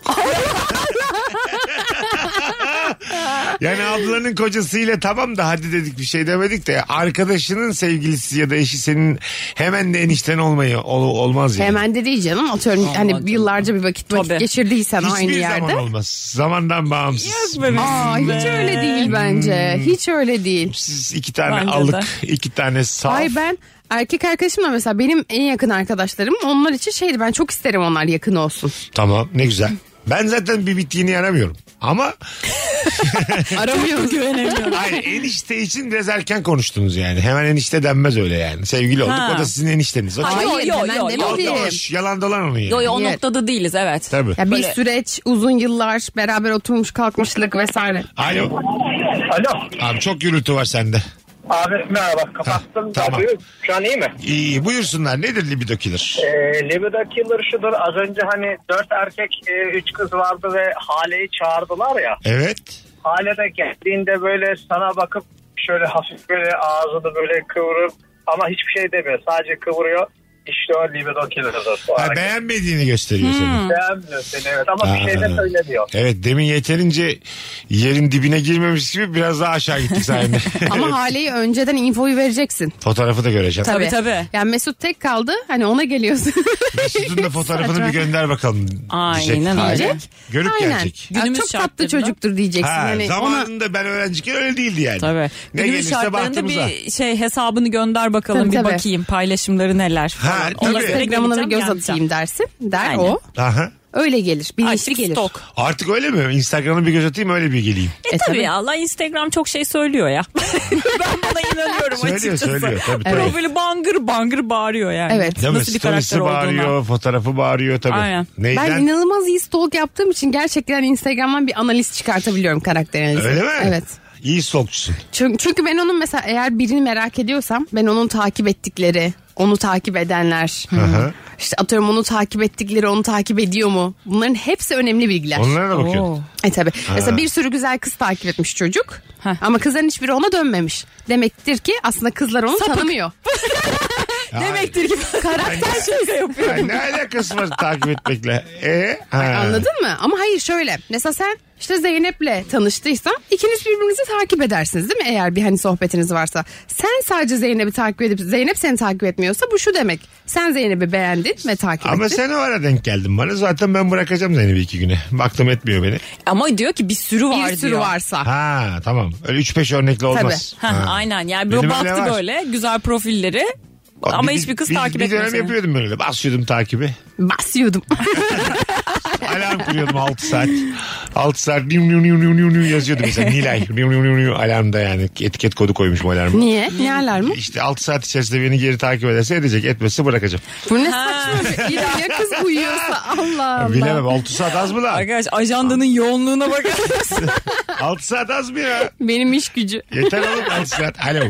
yani ablanın kocasıyla tamam da hadi dedik bir şey demedik de arkadaşının sevgilisi ya da eşi senin hemen de enişten olmayı ol- olmaz yani. Hemen de değil canım. Atıyorum Allah hani canım. yıllarca bir vakit vakit Tabii. geçirdiysen Hiçbir aynı zaman yerde. olmaz. Zamandan bağımsız. Yok be Aa, bizim hiç be. öyle değil bence. Hmm. Hiç öyle değil. Siz iki tane Bence alık, de. iki tane saf. Ay ben erkek arkadaşımla mesela benim en yakın arkadaşlarım onlar için şeydi ben çok isterim onlar yakın olsun. Tamam ne güzel. Ben zaten bir bittiğini aramıyorum. Ama Aramıyoruz. Güvenemiyorum. hayır enişte için biraz erken konuştunuz yani. Hemen enişte denmez öyle yani. Sevgili olduk Ha. o da sizin enişteniz. O Hayır, Yo, yo, hemen yo, yo, Yok, demedim. yavaş, yalan dolan onu yani. Yo yo o Yer. noktada değiliz evet. Tabii. Ya bir Böyle- süreç uzun yıllar beraber oturmuş kalkmışlık vesaire. Alo. Alo. Abi çok gürültü var sende. Abi merhaba. Ha, Kapattım. tamam. radyoyu. Şu an iyi mi? İyi buyursunlar. Nedir libido killer? Ee, Libido Killer şudur. Az önce hani dört erkek, e, üç kız vardı ve Hale'yi çağırdılar ya. Evet. Hale de geldiğinde böyle sana bakıp şöyle hafif böyle ağzını böyle kıvırıp ama hiçbir şey demiyor. Sadece kıvırıyor. İşte o Libido Killer'dır. O Ha, hareket. beğenmediğini gösteriyor Hmm. seni. Beğenmiyor seni evet ama bir şey de Ha. söylemiyor. Evet demin yeterince yerin dibine girmemiş gibi biraz daha aşağı gittik sayende. Ama Hale'yi önceden infoyu vereceksin. Fotoğrafı da göreceğim. Tabii, tabii. Yani Mesut tek kaldı. Hani ona geliyorsun. Mesut'un da fotoğrafını bir gönder bakalım. diyecek. Aynen Hale. öyle. Görüp Aynen. gelecek. Ya Günümüz çok tatlı şartlarında. çocuktur diyeceksin. Ha, hani ona zamanında ben öğrenciyken öyle değildi yani. Tabii. Ne Günün gelirse şartlarında bahtımıza. bir şey hesabını gönder bakalım Tabii, bir tabii. bakayım paylaşımları neler falan. Ha, Onlara tabii. göre Instagram'ına bir geleceğim, göz geleceğim. atayım dersin. Der Aynen. o. Aha. Öyle gelir. Bilinçli Açlık gelir. stok. Artık öyle mi? Instagram'a bir göz atayım öyle bir geleyim. E, E, tabii tabii. ya Allah Instagram çok şey söylüyor ya. ben buna inanıyorum Söylüyor, açıkçası. söylüyor, tabii, tabii. Profili bangır bangır bağırıyor yani. Evet. Değil mi? Nasıl bir karakter Storiesi olduğuna. bağırıyor, fotoğrafı bağırıyor tabii. Aynen. Neyden? Ben inanılmaz iyi stalk yaptığım için gerçekten Instagram'dan bir analiz çıkartabiliyorum karakter analizi. Öyle mi? Evet. İyi sokçusun. Çünkü, çünkü ben onun mesela eğer birini merak ediyorsam ben onun takip ettikleri, onu takip edenler, Hmm. hı. işte atıyorum onu takip ettikleri onu takip ediyor mu? Bunların hepsi önemli bilgiler. Onlara da bakıyorsun. Oo. E tabi. Mesela bir sürü güzel kız takip etmiş çocuk. Heh. Ama kızların hiçbiri ona dönmemiş. Demektir ki aslında kızlar onu tanımıyor. Demektir ki karakter şaka yapıyor. Ya ne alakası var takip etmekle? E, ha. Anladın mı? Ama hayır şöyle. Mesela sen işte Zeynep'le tanıştıysan ikiniz birbirinizi takip edersiniz değil mi? Eğer bir hani sohbetiniz varsa. Sen sadece Zeynep'i takip edip Zeynep seni takip etmiyorsa bu şu demek. Sen Zeynep'i beğendin ve takip Ama ettin. sen o ara denk geldin bana. Zaten ben bırakacağım seni bir iki güne. Baktım etmiyor beni. Ama diyor ki bir sürü var bir sürü diyor. varsa. Ha tamam. Öyle üç beş örnekle olmaz. Heh, Ha. aynen yani Benim bir öyle baktı var. böyle güzel profilleri ama Bir- hiçbir kız bir- takip Bir etmiyor. dönem seni. yapıyordum böyle. Basıyordum takibi. Basıyordum. alarm kuruyordum 6 saat. 6 saat niu niu niu niu niu niu yazıyordu mesela Nilay. Niu niu niu niu alarmda yani etiket kodu koymuşum alarma. Niye? Niye alarm mı? İşte 6 saat içerisinde beni geri takip ederse edecek etmezse bırakacağım. Bu ne saçma bir şey. Ya kız uyuyorsa Allah Allah. Bilemem 6 saat az mı lan? Arkadaş ajandanın yoğunluğuna bakın. 6 saat az mı ya? Benim iş gücü. Yeter oğlum 6 saat. Alo.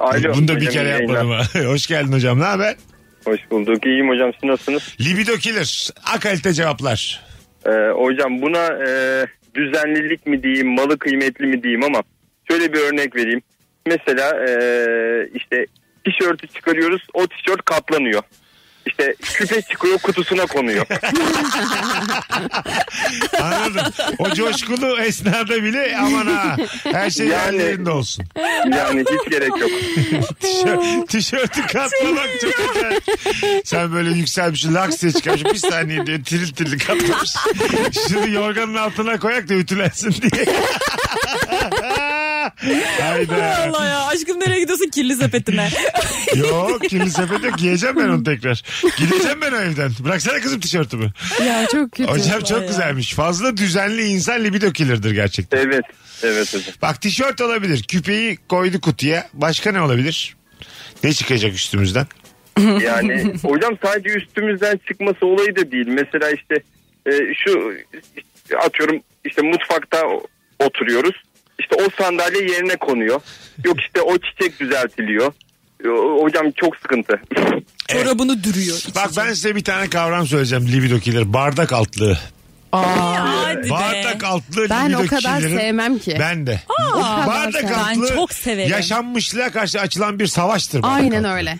Alo. Bunu da bir Hocam, kere iyi yayınlar. yapmadım ha. Hoş geldin hocam ne haber? Hoş bulduk. İyiyim hocam siz nasılsınız? Libido killer. Akalite cevaplar. Ee, hocam buna e, düzenlilik mi diyeyim, malı kıymetli mi diyeyim ama şöyle bir örnek vereyim. Mesela e, işte tişörtü çıkarıyoruz, o tişört katlanıyor. İşte küpe çıkıyor, kutusuna konuyor. Anladım. O coşkulu esnada bile aman ha. Her şey Yani- yerlerinde olsun. Yani hiç gerek yok. Tişör- tişörtü katlamak çok güzel. Sen böyle yükselmişsin laks diye çıkarmışsın bir saniye diye tiril tiril katlamış. Şunu yorganın altına koyak da ütülensin diye. Hayda. Allah ya aşkım nereye gidiyorsun kirli sepetine? Yok kirli sepet yok. Giyeceğim ben onu tekrar. Gideceğim ben o evden. Bıraksana kızım tişörtümü. Ya çok kötü. Hocam çok güzelmiş. Fazla düzenli insan libido killer'dır gerçekten. Evet, evet hocam. Bak tişört olabilir. Küpeyi koydu kutuya. Başka ne olabilir? Ne çıkacak üstümüzden? Yani hocam sadece üstümüzden çıkması olayı da değil. Mesela işte e, şu işte atıyorum işte mutfakta o- oturuyoruz. İşte o sandalye yerine konuyor. Yok işte o çiçek düzeltiliyor. E, o- Hocam çok sıkıntı. Çorabını dürüyor. E, Bak ben size bir tane kavram söyleyeceğim libido killer. Bardak altlığı. Hadi be. Bardak altlığı Ben libido o kadar killer'ın- sevmem ki. Ben de. bardak sevmem. altlığı Ben çok severim. yaşanmışlığa karşı açılan bir savaştır. bardak Aynen altlığı. öyle.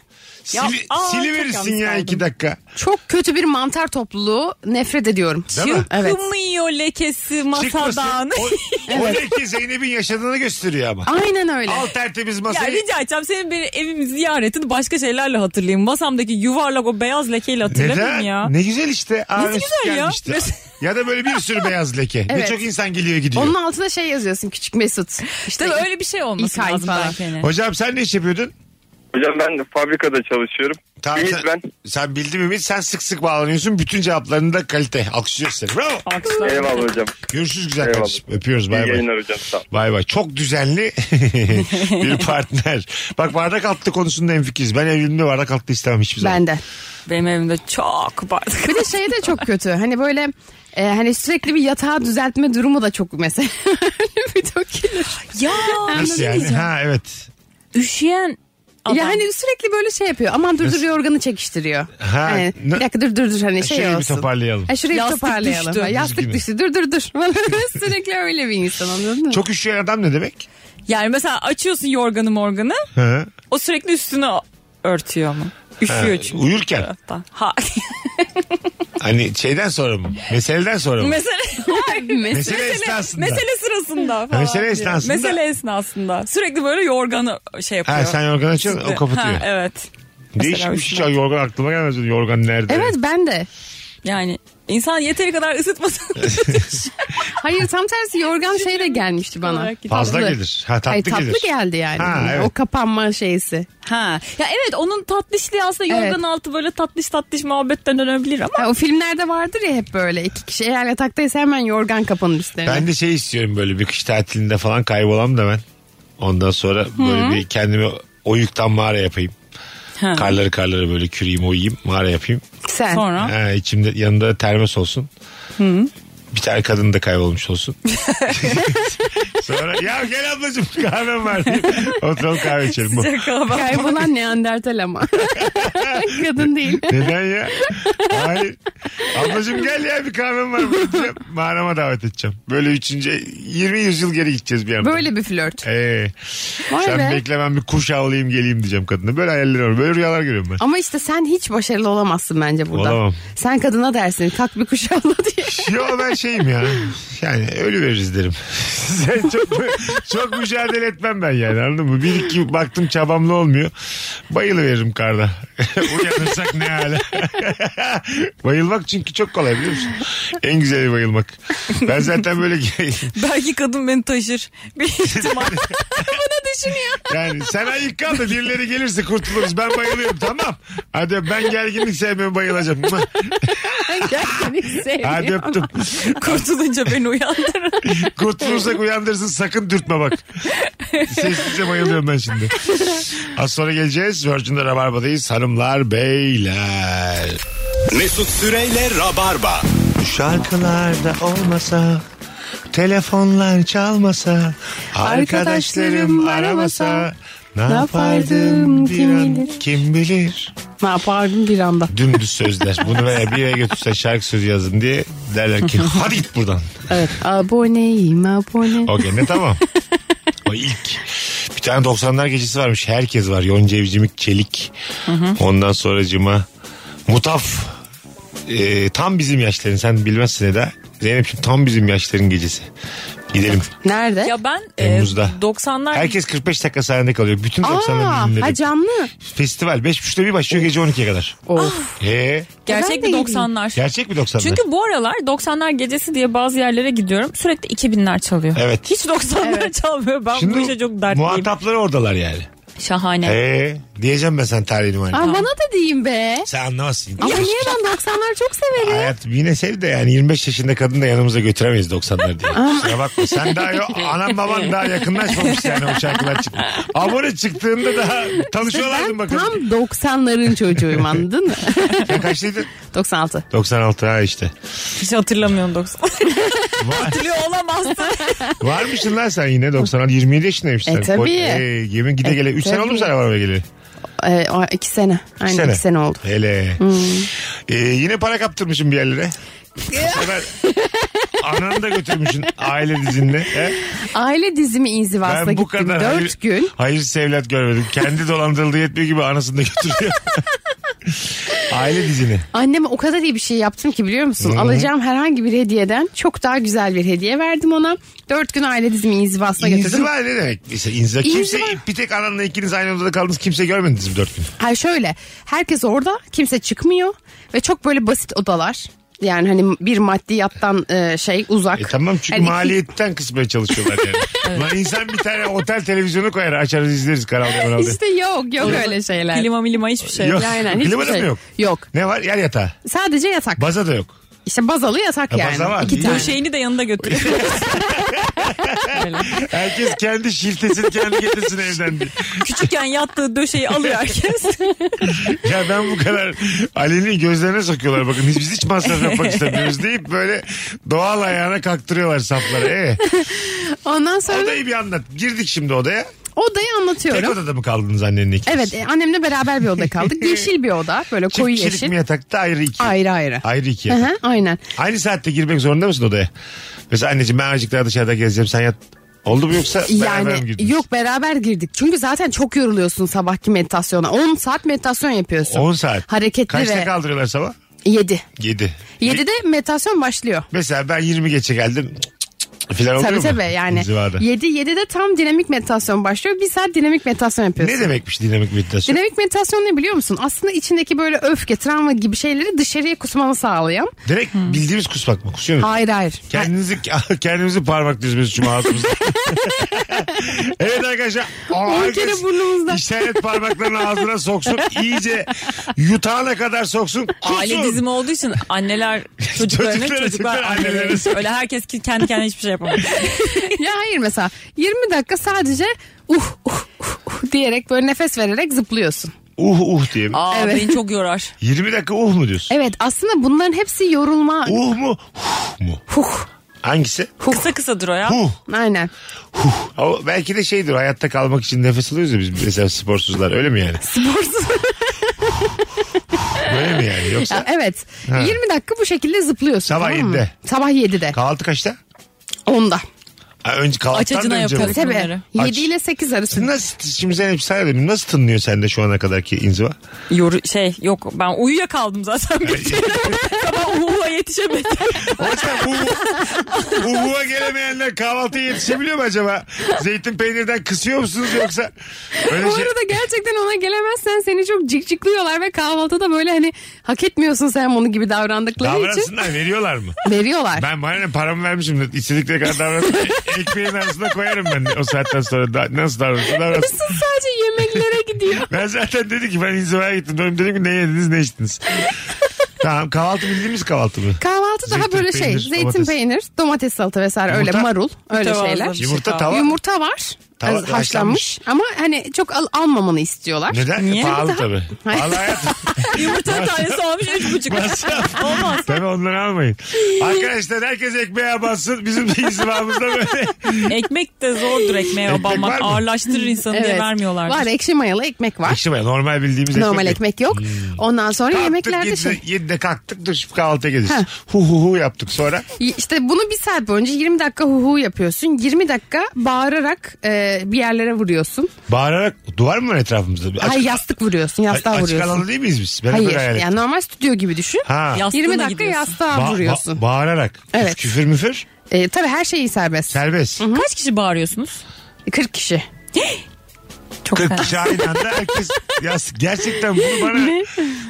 Ya, Sili, aa, çok siliverirsin yalnız ya kaldım. iki dakika. Çok kötü bir mantar topluluğu nefret ediyorum. Değil mi? Evet. Kımıyor lekesi Çıkmasın. masadan. O, o leke Zeynep'in yaşadığını gösteriyor ama. Aynen öyle. Al tertemiz Ya masayı. rica edeceğim senin bir evim ziyaretini başka şeylerle hatırlayayım. Masamdaki yuvarlak o beyaz lekeyle hatırlamayayım ya. Ne güzel işte. Aa, Nesi üst güzel ya? gelmişti. ya da böyle bir sürü beyaz leke. Ne Evet. çok insan geliyor gidiyor. Onun altına şey yazıyorsun küçük Mesut. İşte Tabii öyle bir şey olması İlk ay lazım falan. belki. hani. Hocam sen ne iş yapıyordun? Hocam ben de fabrikada çalışıyorum. Ümit sen, ben. Sen bildim Ümit. Sen sık sık bağlanıyorsun. Bütün cevaplarında kalite. Alkışlıyoruz seni. Bravo. Alkışlar. Eyvallah hocam. Görüşürüz güzel Eyvallah. kardeşim. Öpüyoruz. İyi Bay bay. yayınlar hocam. Sağ ol. Bay bay. Çok düzenli bir partner. Bak bardak altı konusunda hemfikiriz. Ben evliliğimde bardak altı istemem hiçbir zaman. Ben de. Benim evimde çok bardak. Bir de şey de çok kötü. Hani böyle e, hani sürekli bir yatağı düzeltme durumu da çok mesela. bir dökülür. ya Nasıl yani? Ha evet. üşüyen adam. Ya hani sürekli böyle şey yapıyor. Aman dur dur yorganı çekiştiriyor. Ha, hani, ne- bir dakika dur dur dur hani şey Şöyle bir olsun. toparlayalım. Ha, şurayı bir Yastık toparlayalım. düştü. Ha, yastık Üzgünüm. düştü. Dur dur dur. sürekli öyle bir insan anladın mı? Çok üşüyen adam ne demek? Yani mesela açıyorsun yorganı morganı Ha. o sürekli üstünü örtüyor mu? Üşüyor çünkü. Uyurken Hatta. Ha. hani şeyden sonra mı? Meseleden sonra mı? mesele, Mesele esnasında. mesele sırasında falan. Mesele diye. esnasında. Mesele esnasında. Sürekli böyle yorganı şey yapıyor. Ha sen yorgan açıyorsun o kapatıyor. Ha, evet. Mesela Değişmiş hiç üstüne- yorgan aklıma gelmez. Yorgan nerede? şey Evet ben de. Yani insan yeteri kadar ısıtmasın. Hayır tam tersi yorgan şey de gelmişti bana. Olarak gidiyor. Fazla Tatlı. gelir. Ha tatlı, Ay, tatlı gelir. geldi yani. Ha, Hani evet. O kapanma şeysi. Ha. Ya evet onun tatlışlığı aslında yorgan Evet. altı böyle tatlış tatlış muhabbetten dönebilir ama. Ha, o filmlerde vardır ya hep böyle iki kişi eğer yataktaysa hemen yorgan kapanır üstlerine. Ben de şey istiyorum böyle bir kış tatilinde falan kaybolam da ben. Ondan sonra böyle bir kendimi oyuktan mağara yapayım. Ha. Karları karları böyle küreyim oyayım mağara yapayım. Sen. Sonra Ha, içimde yanında termos olsun. Bir tane kadın da kaybolmuş olsun. sonra ya gel ablacığım kahvem var diye. Oturalım kahve içelim. Bu. Sıcak hava. Kaybolan Neandertal ama. Kadın değil. Neden ya? Hayır. Ablacığım gel ya bir kahvem var. Bakacağım. Mağarama davet edeceğim. Böyle üçüncü 20 yüzyıl geri gideceğiz bir anda. Böyle bir flört. Ee, Vay sen be. bekle ben bir kuş avlayayım geleyim diyeceğim kadına. Böyle hayaller var. Böyle rüyalar görüyorum ben. Ama işte sen hiç başarılı olamazsın bence burada. Olamam. Sen kadına dersin kalk bir şey kuş avla diye. Yo ben şeyim ya. Yani ölü veririz derim. Sen çok, çok mücadele etmem ben yani anladın mı? Bir iki baktım çabamla olmuyor. Bayılı veririm karda. Uyanırsak ne hala. bayılmak çünkü çok kolay biliyor musun? En güzeli bayılmak. Ben zaten böyle Belki kadın beni taşır. Bir ihtimal. Bana düşünüyor. yani sen ayık kal da birileri gelirse kurtuluruz. Ben bayılıyorum tamam. Hadi ben gerginlik sevmiyorum bayılacağım. Gerçekten Hadi sevmiyorum. öptüm. Kurtulunca beni uyandırır. Kurtulursak uyandırsın sakın dürtme bak. Sessizce bayılıyorum ben şimdi. Az sonra geleceğiz. Virgin'de Rabarba'dayız. Hanımlar, beyler. Mesut Süreyle Rabarba. Şarkılarda olmasa Telefonlar çalmasa Arkadaşlarım aramasa, Ne yapardım bir kim an- bilir? Kim bilir Ne yapardım bir anda. Dümdüz sözler Bunu böyle bir yere götürsen şarkı sözü yazın diye Derler ki hadi git buradan Evet. Aboneyim abone. O gene tamam. o ilk. Bir tane 90'lar gecesi varmış. Herkes var. Yonca Evcimik, Çelik. Ondan sonra Cima. Mutaf. Ee, tam bizim yaşların. Sen bilmezsin Eda. Zeynep'ciğim tam bizim yaşların gecesi. Gidelim. Nerede? Ya ben e, Temmuz'da. 90'lar Herkes 45 dakika sahnede kalıyor. Bütün 90'lar Aa, ha dinledim. camlı. Festival 5.30'da bir başlıyor gece 12'ye kadar. Of. He, gerçek Ben bir de 90'lar. gerçek mi 90'lar? Çünkü bu aralar 90'lar gecesi diye bazı yerlere gidiyorum. Sürekli 2000'ler çalıyor. Evet. Hiç 90'lar çalmıyor. Ben bu işe çok dertliyim. muhatapları oradalar yani. Şahane. He, diyeceğim ben sen tarihini numaranı. Aa, Ah, bana da diyeyim be. Sen anlamazsın. Ama niye ben 90'ları çok severim. Hayat yine sev de yani 25 yaşında kadını da yanımıza götüremeyiz 90'lar diye. Kusura bakma sen daha yo, anam baban daha yakınlaşmamış yani o şarkılar çıktı. Abone çıktığında daha tanışıyorlardı Ben tam bakalım. 90'ların çocuğuyum anladın mı? Sen kaçlıydın? 96. 96 ha işte. Hiç hatırlamıyorum 90. Var, Hatırlıyor olamazsın. varmışsın lan sen yine 96 27 yaşındaymışsın. E, sen. tabii. e, yemin gide E, gele 3 sene tabii. oldu mu sana var geleli? Ee, o iki sene. Aynen sene. iki sene oldu. Hmm. Hele. E, yine para kaptırmışım bir yerlere. Bu sefer ananı da götürmüşsün aile dizinle. He? Aile dizimi inzivasına Ben bu gittim. kadar Dört hayır, gün. hayırsız evlat görmedim. Kendi dolandırıldığı yetmiyor gibi anasını da götürüyor. Aile dizini. Anneme o kadar iyi bir şey yaptım ki biliyor musun? Alacağım herhangi bir hediyeden çok daha güzel bir hediye verdim ona. Dört gün aile dizimi inzivasına götürdüm. İnziva ne demek? İşte inziva. Kimse İnziva. bir tek ananla ikiniz aynı odada kaldınız. Kimse görmediniz mi dört gün? Hayır şöyle herkes orada kimse çıkmıyor ve çok böyle basit odalar. Yani hani bir maddiyattan e, şey uzak. E tamam çünkü Yani iki- maliyetten kısmaya çalışıyorlar yani. Lan insan bir tane otel televizyonu koyar açarız izleriz kanalda kanalda. İşte yok yok öyle şeyler. Klima milima hiçbir şey. Yok. Aynen hiçbir Klima da şey. mı yok? Yok. Ne var? Yer yatağı. Sadece yatak. Baza da yok. işte bazalı yatak Ha, yani. baza var. İki tane. Şeyini de yanında götürüyor. Herkes kendi şiltesini kendi getirsin evden. diye. Küçükken yattığı döşeyi alıyor herkes. Ya ben bu kadar Ali'nin gözlerine sokuyorlar bakın. Biz, biz hiç masraf yapmak istemiyoruz deyip böyle doğal ayağına kaktırıyorlar safları. E, Ondan sonra odayı bir anlat. Girdik şimdi odaya. odayı anlatıyorum. Tek odada mı kaldınız annenin ikiniz? Evet e, annemle beraber bir oda kaldık. Yeşil bir oda böyle Çift koyu kişilik yeşil. mi yatakta ayrı iki. Ayrı ayrı. Ayrı iki Hı yatak. hı, aynen. Aynı saatte girmek zorunda mısın odaya? Mesela anneciğim ben azıcık daha dışarıda gezeceğim sen yat. Oldu mu yoksa beraber mi Yani girdiniz? yok beraber girdik. Çünkü zaten çok yoruluyorsun sabahki meditasyona. 10 saat meditasyon yapıyorsun. 10 saat. Hareketli Kaçta ve kaldırıyorlar sabah? 7. 7. 7'de meditasyon başlıyor. Mesela ben 20 geçe geldim. Cık, cık, cık Filan oluyor Tabii mu? tabii yani. Zivada. 7 7'de tam dinamik meditasyon başlıyor. Bir saat dinamik meditasyon yapıyorsun. Ne demekmiş dinamik meditasyon? Dinamik meditasyon ne biliyor musun? Aslında içindeki böyle öfke, travma gibi şeyleri dışarıya kusmanı sağlayan. Direkt bildiğimiz kusmak mı? Kusuyor muyuz? Hmm. Hayır hayır. Kendinizi, kendimizi parmak düzmesi için ağzımızda. evet arkadaşlar. On herkes kere burnumuzda. İşaret parmaklarını ağzına soksun. iyice yutağına kadar soksun. Kusun. Aile dizimi olduğu için anneler çocuklarını Çocuklara, çocuklar, çocuklar annelerini. annelerini. Öyle herkes ki- kendi kendine hiçbir şey yapamıyor. Ya hayır mesela 20 dakika sadece uh uh uh, uh diyerek böyle nefes vererek zıplıyorsun. Uh uh diye. mi? Aa Evet. beni çok yorar. 20 dakika uh mu diyorsun? Evet aslında bunların hepsi yorulma. Uh mu? Huh mu? Huh. Hangisi? Kısa kısadır o ya. Huh. Aynen. Huh. O belki de şeydir hayatta kalmak için nefes alıyoruz ya biz mesela sporsuzlar öyle mi yani? Sporsuz. Böyle mi yani Ya yoksa? evet. 20 dakika bu şekilde zıplıyorsun. Sabah tamam mı? yedide. Sabah 7'de. Kahvaltı kaçta? 10'da. Ha, önce Aç kahvaltıdan da acına önce mi? yaparız Tabii. bunları. 7 ile 8 arası. Nasıl, şimdi sen hep sana dedim. Nasıl tınlıyor sende şu ana kadarki inziva? Yoru, şey yok ben uyuyakaldım zaten bütün. Sabah uğuğa yetişemedim. Hocam bu Uhu'a gelemeyenler kahvaltıya yetişebiliyor mu acaba? Zeytin peynirden kısıyor musunuz yoksa? Öyle Bu şey... arada gerçekten ona gelemezsen seni çok cikcikliyorlar ve kahvaltıda böyle hani hak etmiyorsun sen bunu gibi davrandıkları için Davransınlar veriyorlar mı? veriyorlar. Ben bana ne paramı vermişim de istedikleri kadar davranıp ekmeğin arasına koyarım ben de. o saatten sonra da, nasıl davranırsa davransın. Hırsız sadece yemeklere gidiyor. Ben zaten dedi ki ben inzivaya gittim. Dönüm dedim ki ne yediniz ne içtiniz. tamam kahvaltı bildiğimiz kahvaltı mı? Kahvaltı daha Zeytin, böyle şey peynir, zeytin domates. peynir, domates salata vesaire Yumurta? öyle marul öyle Mütevazı şeyler. bir şey Yumurta, kahvaltı. tava. Yumurta var Tava- az- haşlanmış ama hani çok al- almamanı istiyorlar. Neden? Niye? Pahalı Daha- tabii. Hayır. Pahalı hayatım. Yumurta tanesi olmuş üç buçuk. Olmaz. Tabii onları almayın. Arkadaşlar herkes ekmeğe bassın. Bizim de inzivamızda böyle. Ekmek de zordur ekmeğe Ekmek var abanmak. mı? Ağırlaştırır insanı diye vermiyorlar. Var ekşi mayalı ekmek var. Ekşi Hmm. baya normal bildiğimiz Normal ekmek yok. Ondan sonra Kalktık, yemeklerde yedide- şey. yedide kalktık dur şu kahvaltıya gidiyoruz. Ha. Hu hu hu yaptık sonra. İşte bunu bir saat boyunca 20 dakika huhu yapıyorsun. 20 dakika bağırarak e, bir yerlere vuruyorsun. Bağırarak duvar mı var etrafımızda? Bir Açık, Ay yastık vuruyorsun, yastığa açık vuruyorsun. alanda değil miyiz biz? Ben hep Hayır. böyle hayal ettim. Yani normal stüdyo gibi düşün. Ha. Yastığına 20 dakika gidiyorsun. yastığa Ba- ba- vuruyorsun. bağırarak. Evet. Küfür müfür E, tabii her şeyi serbest. serbest. Kaç kişi bağırıyorsunuz? 40 kişi. Çok 40 kişi aynı anda herkes ya gerçekten bunu bana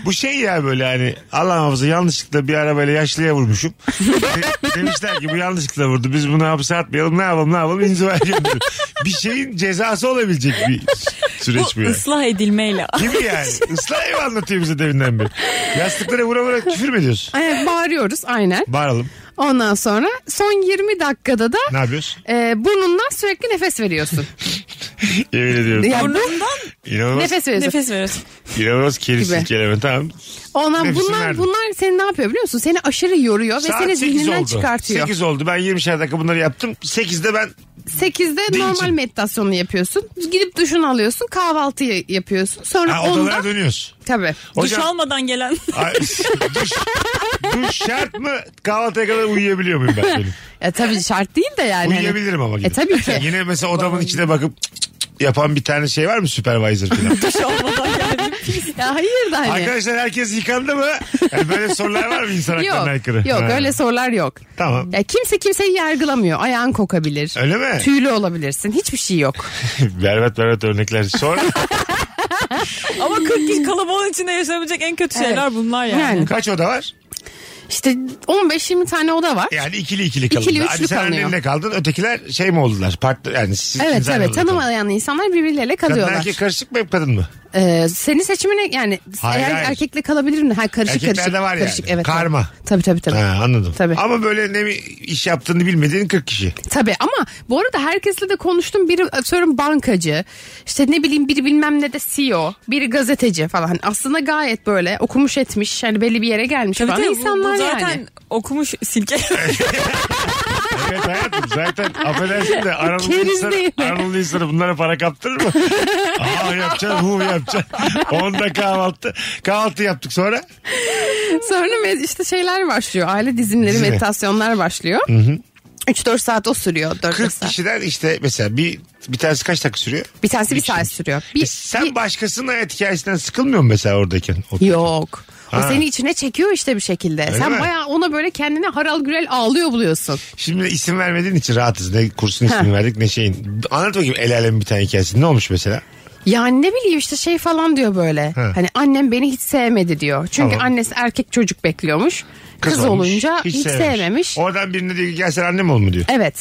bu şey ya böyle hani Allah muhafaza yanlışlıkla bir arabayla yaşlıya vurmuşum. De- demişler ki bu yanlışlıkla vurdu biz bunu hapse atmayalım ne yapalım ne yapalım inzivaya gönderelim. bir şeyin cezası olabilecek bir süreç bu Bu yani. ıslah edilmeyle. Gibi yani. Islah ev anlatıyor bize deminden beri. Yastıklara vura vura küfür mü ediyorsun? E, bağırıyoruz aynen. Bağıralım. Ondan sonra son 20 dakikada da Ne yapıyorsun? e, burnundan sürekli nefes veriyorsun. Yemin ediyorum. Yani bu- Burnundan İnanılmaz, nefes veriyorsun. nefes veriyorsun. inanılmaz kerisin Gibi. kelime. Tamam. Ondan nefesini bunlar verdim. bunlar seni ne yapıyor biliyor musun? Seni aşırı yoruyor ve seni zihninden çıkartıyor. 8 oldu. Ben 20'şer dakika bunları yaptım. 8'de ben 8'de Değil normal için. meditasyonu yapıyorsun. Gidip duşunu alıyorsun, kahvaltıyı yapıyorsun. Sonra ha, odalara 10'da dönüyoruz. tabii. Duş almadan gelen. Ay, duş, duş şart mı? Kahvaltıya kadar uyuyabiliyor muyum ben? Benim? E, tabii şart değil de yani. Uyuyabilirim ama. gidip. E, tabii ki. Yine mesela odamın içine bakıp cık cık cık yapan bir tane şey var mı? Supervisor falan. Ya hayır da hani. Arkadaşlar herkes yıkandı mı? Yani böyle sorular var mı insan Yok, haklarına aykırı? yok Ha. öyle sorular yok. Tamam. Ya kimse kimseyi yargılamıyor. Ayağın kokabilir. Öyle mi? Tüylü olabilirsin. Hiçbir şey yok. berbat berbat örnekler. Sonra Ama 40 kişi kalabalığın içinde yaşanabilecek en kötü şeyler Evet. bunlar yani. Yani. kaç oda var? İşte 15-20 tane oda var. Yani ikili ikili kalındı. İkili, Hadi üçlü sen kalınıyor. annenle kaldın ötekiler şey mi oldular? Partner, yani siz Evet insan evet oldular. tanımayan insanlar birbirleriyle Kadın kalıyorlar. erkek karışık mı hep kadın mı? Ee, senin seçimine yani Hayır, eğer hayır. erkekle kalabilir mi? Hayır karışık Erkeklerde karışık. var yani. karışık, evet, Karma. Tabii tabii tabii. Ha, anladım. Tabii. Ama böyle ne mi- iş yaptığını bilmediğin 40 kişi. Tabii ama bu arada herkesle de konuştum. Biri atıyorum bankacı, işte ne bileyim biri bilmem ne de CEO, biri gazeteci falan. Hani aslında gayet böyle okumuş etmiş, yani belli bir yere gelmiş Tabii falan tabii bu- insanlar bu zaten yani. okumuş silke. Evet hayatım zaten affedersin de Anadolu Keriz insanı, değil. Anadolu insanı bunlara para kaptırır mı? Aa yapacaksın hu yapacaksın. Onda kahvaltı. Kahvaltı yaptık sonra. Sonra med- işte şeyler başlıyor. Aile dizimleri, Dizi. meditasyonlar başlıyor. 3-4 saat o sürüyor. 4 40 saat. kişiden işte mesela bir bir tanesi kaç dakika sürüyor? Bir tanesi bir Bir saat kişi. sürüyor. Bir, E sen bir- başkasının hayat hikayesinden sıkılmıyor musun mesela oradayken? O- Yok. Ha. O seni içine çekiyor işte bir şekilde. Sen mi? bayağı ona böyle kendine haral gürel ağlıyor buluyorsun. Şimdi isim vermediğin için rahatız. Ne kursun ismini Ha. verdik ne şeyin. Anlat bakayım el alemin bir tane hikayesi. Ne olmuş mesela? Yani ne bileyim işte şey falan diyor böyle. Ha. Hani annem beni hiç sevmedi diyor. Çünkü Tamam. annesi erkek çocuk bekliyormuş. Kız, olmuş, olunca hiç, sevmemiş. sevmemiş. Oradan birine diyor ki gel sen annem ol mu diyor. Evet.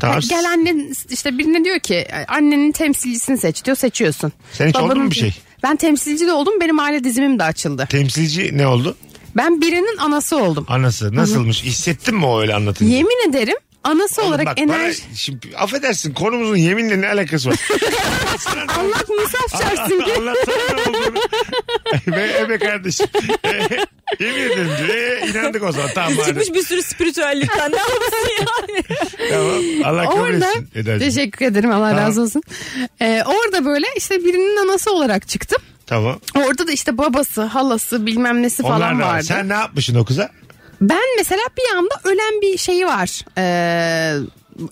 Tamam. Ha, Gel annen işte birine diyor ki annenin temsilcisini seç diyor seçiyorsun. Sen hiç oldun mu bir şey? Ben temsilci de oldum benim aile dizimim de açıldı. Temsilci ne oldu? Ben birinin anası oldum. Anası nasılmış? Hissettin mi o öyle anlatınca? Yemin ederim anası Oğlum olarak bak, enerji... bana şimdi, affedersin konumuzun yeminle ne alakası var? Allah musaf çarpsın ki. Anlatsana ne olduğunu. Ebe, ebe kardeşim. E, yemin ederim diyor. E, inandık o zaman. Tamam madem. şey. Çıkmış bir sürü spiritüellikten. Ne yapıyorsun yani? Tamam. Allah kabul Orada etsin Eda'cığım. teşekkür ederim Allah Tamam. razı olsun. Ee, orada böyle işte birinin anası olarak çıktım. Tamam. Orada da işte babası, halası bilmem nesi Onlar falan da var. vardı. Sen ne yapmışsın o kıza? Ben mesela bir anda ölen bir şeyi var. Ee,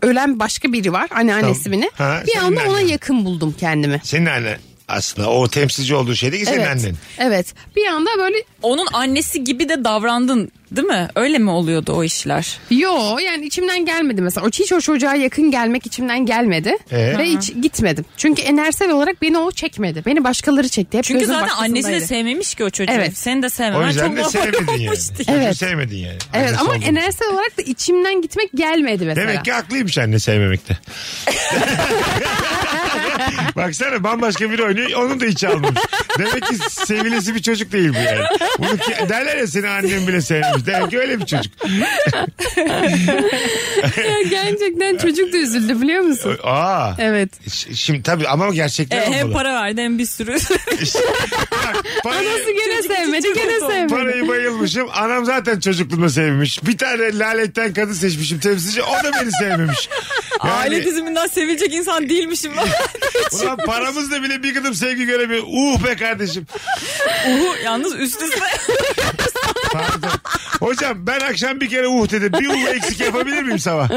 ölen başka biri var anneannesi Tamam. bile. Ha, bir senin anda ona annen. yakın buldum kendimi. Senin annen aslında o temsilci olduğu şeydeki senin evet. annen. Evet. Bir anda böyle Onun annesi gibi de davrandın değil mi? Öyle mi oluyordu o işler? yo yani içimden gelmedi mesela. O hiç o çocuğa yakın gelmek içimden gelmedi. Ee? Ve hiç gitmedim. Çünkü enerjisel olarak beni o çekmedi. Beni başkaları çekti. Hep Çünkü gözüm zaten annesi de başkasındaydı. sevmemiş ki o çocuğu. Evet. Seni de O sevmemen çok yüzden de normal sevmedin yani. olmuştu. Çocuğu Evet. sevmedin yani. Evet Annesi ama olduğun için. enerjisel olarak da içimden gitmek gelmedi mesela. Demek ki haklıymış anne sevmemekte. Baksana bambaşka biri oynuyor onun da içi almamış. Demek ki sevilesi bir çocuk değil bu yani. Bunu ki- derler ya seni annem bile sevmemiş. Demek ki öyle bir çocuk. Ya gerçekten çocuk da üzüldü biliyor musun? Aa. Evet. Ş- Şimdi tabii ama gerçekten E, hem olmalı. para verdi hem bir sürü. İşte, bak, parayı, Anası gene Çocuk sevmedi için gene çocuk oldu. sevmedi. parayı bayılmışım. Anam zaten çocukluğunda sevmiş. Bir tane laletten kadın seçmişim temsilci. O da beni sevmemiş. Yani, Aile diziminden sevilecek insan değilmişim. ulan paramızla bile bir kadın sevgi göremiyor. Uh be kardeşim. Uhu yalnız üst üste. Pardon. Hocam ben akşam bir kere uh dedim. Bir uh eksik yapabilir miyim sabah?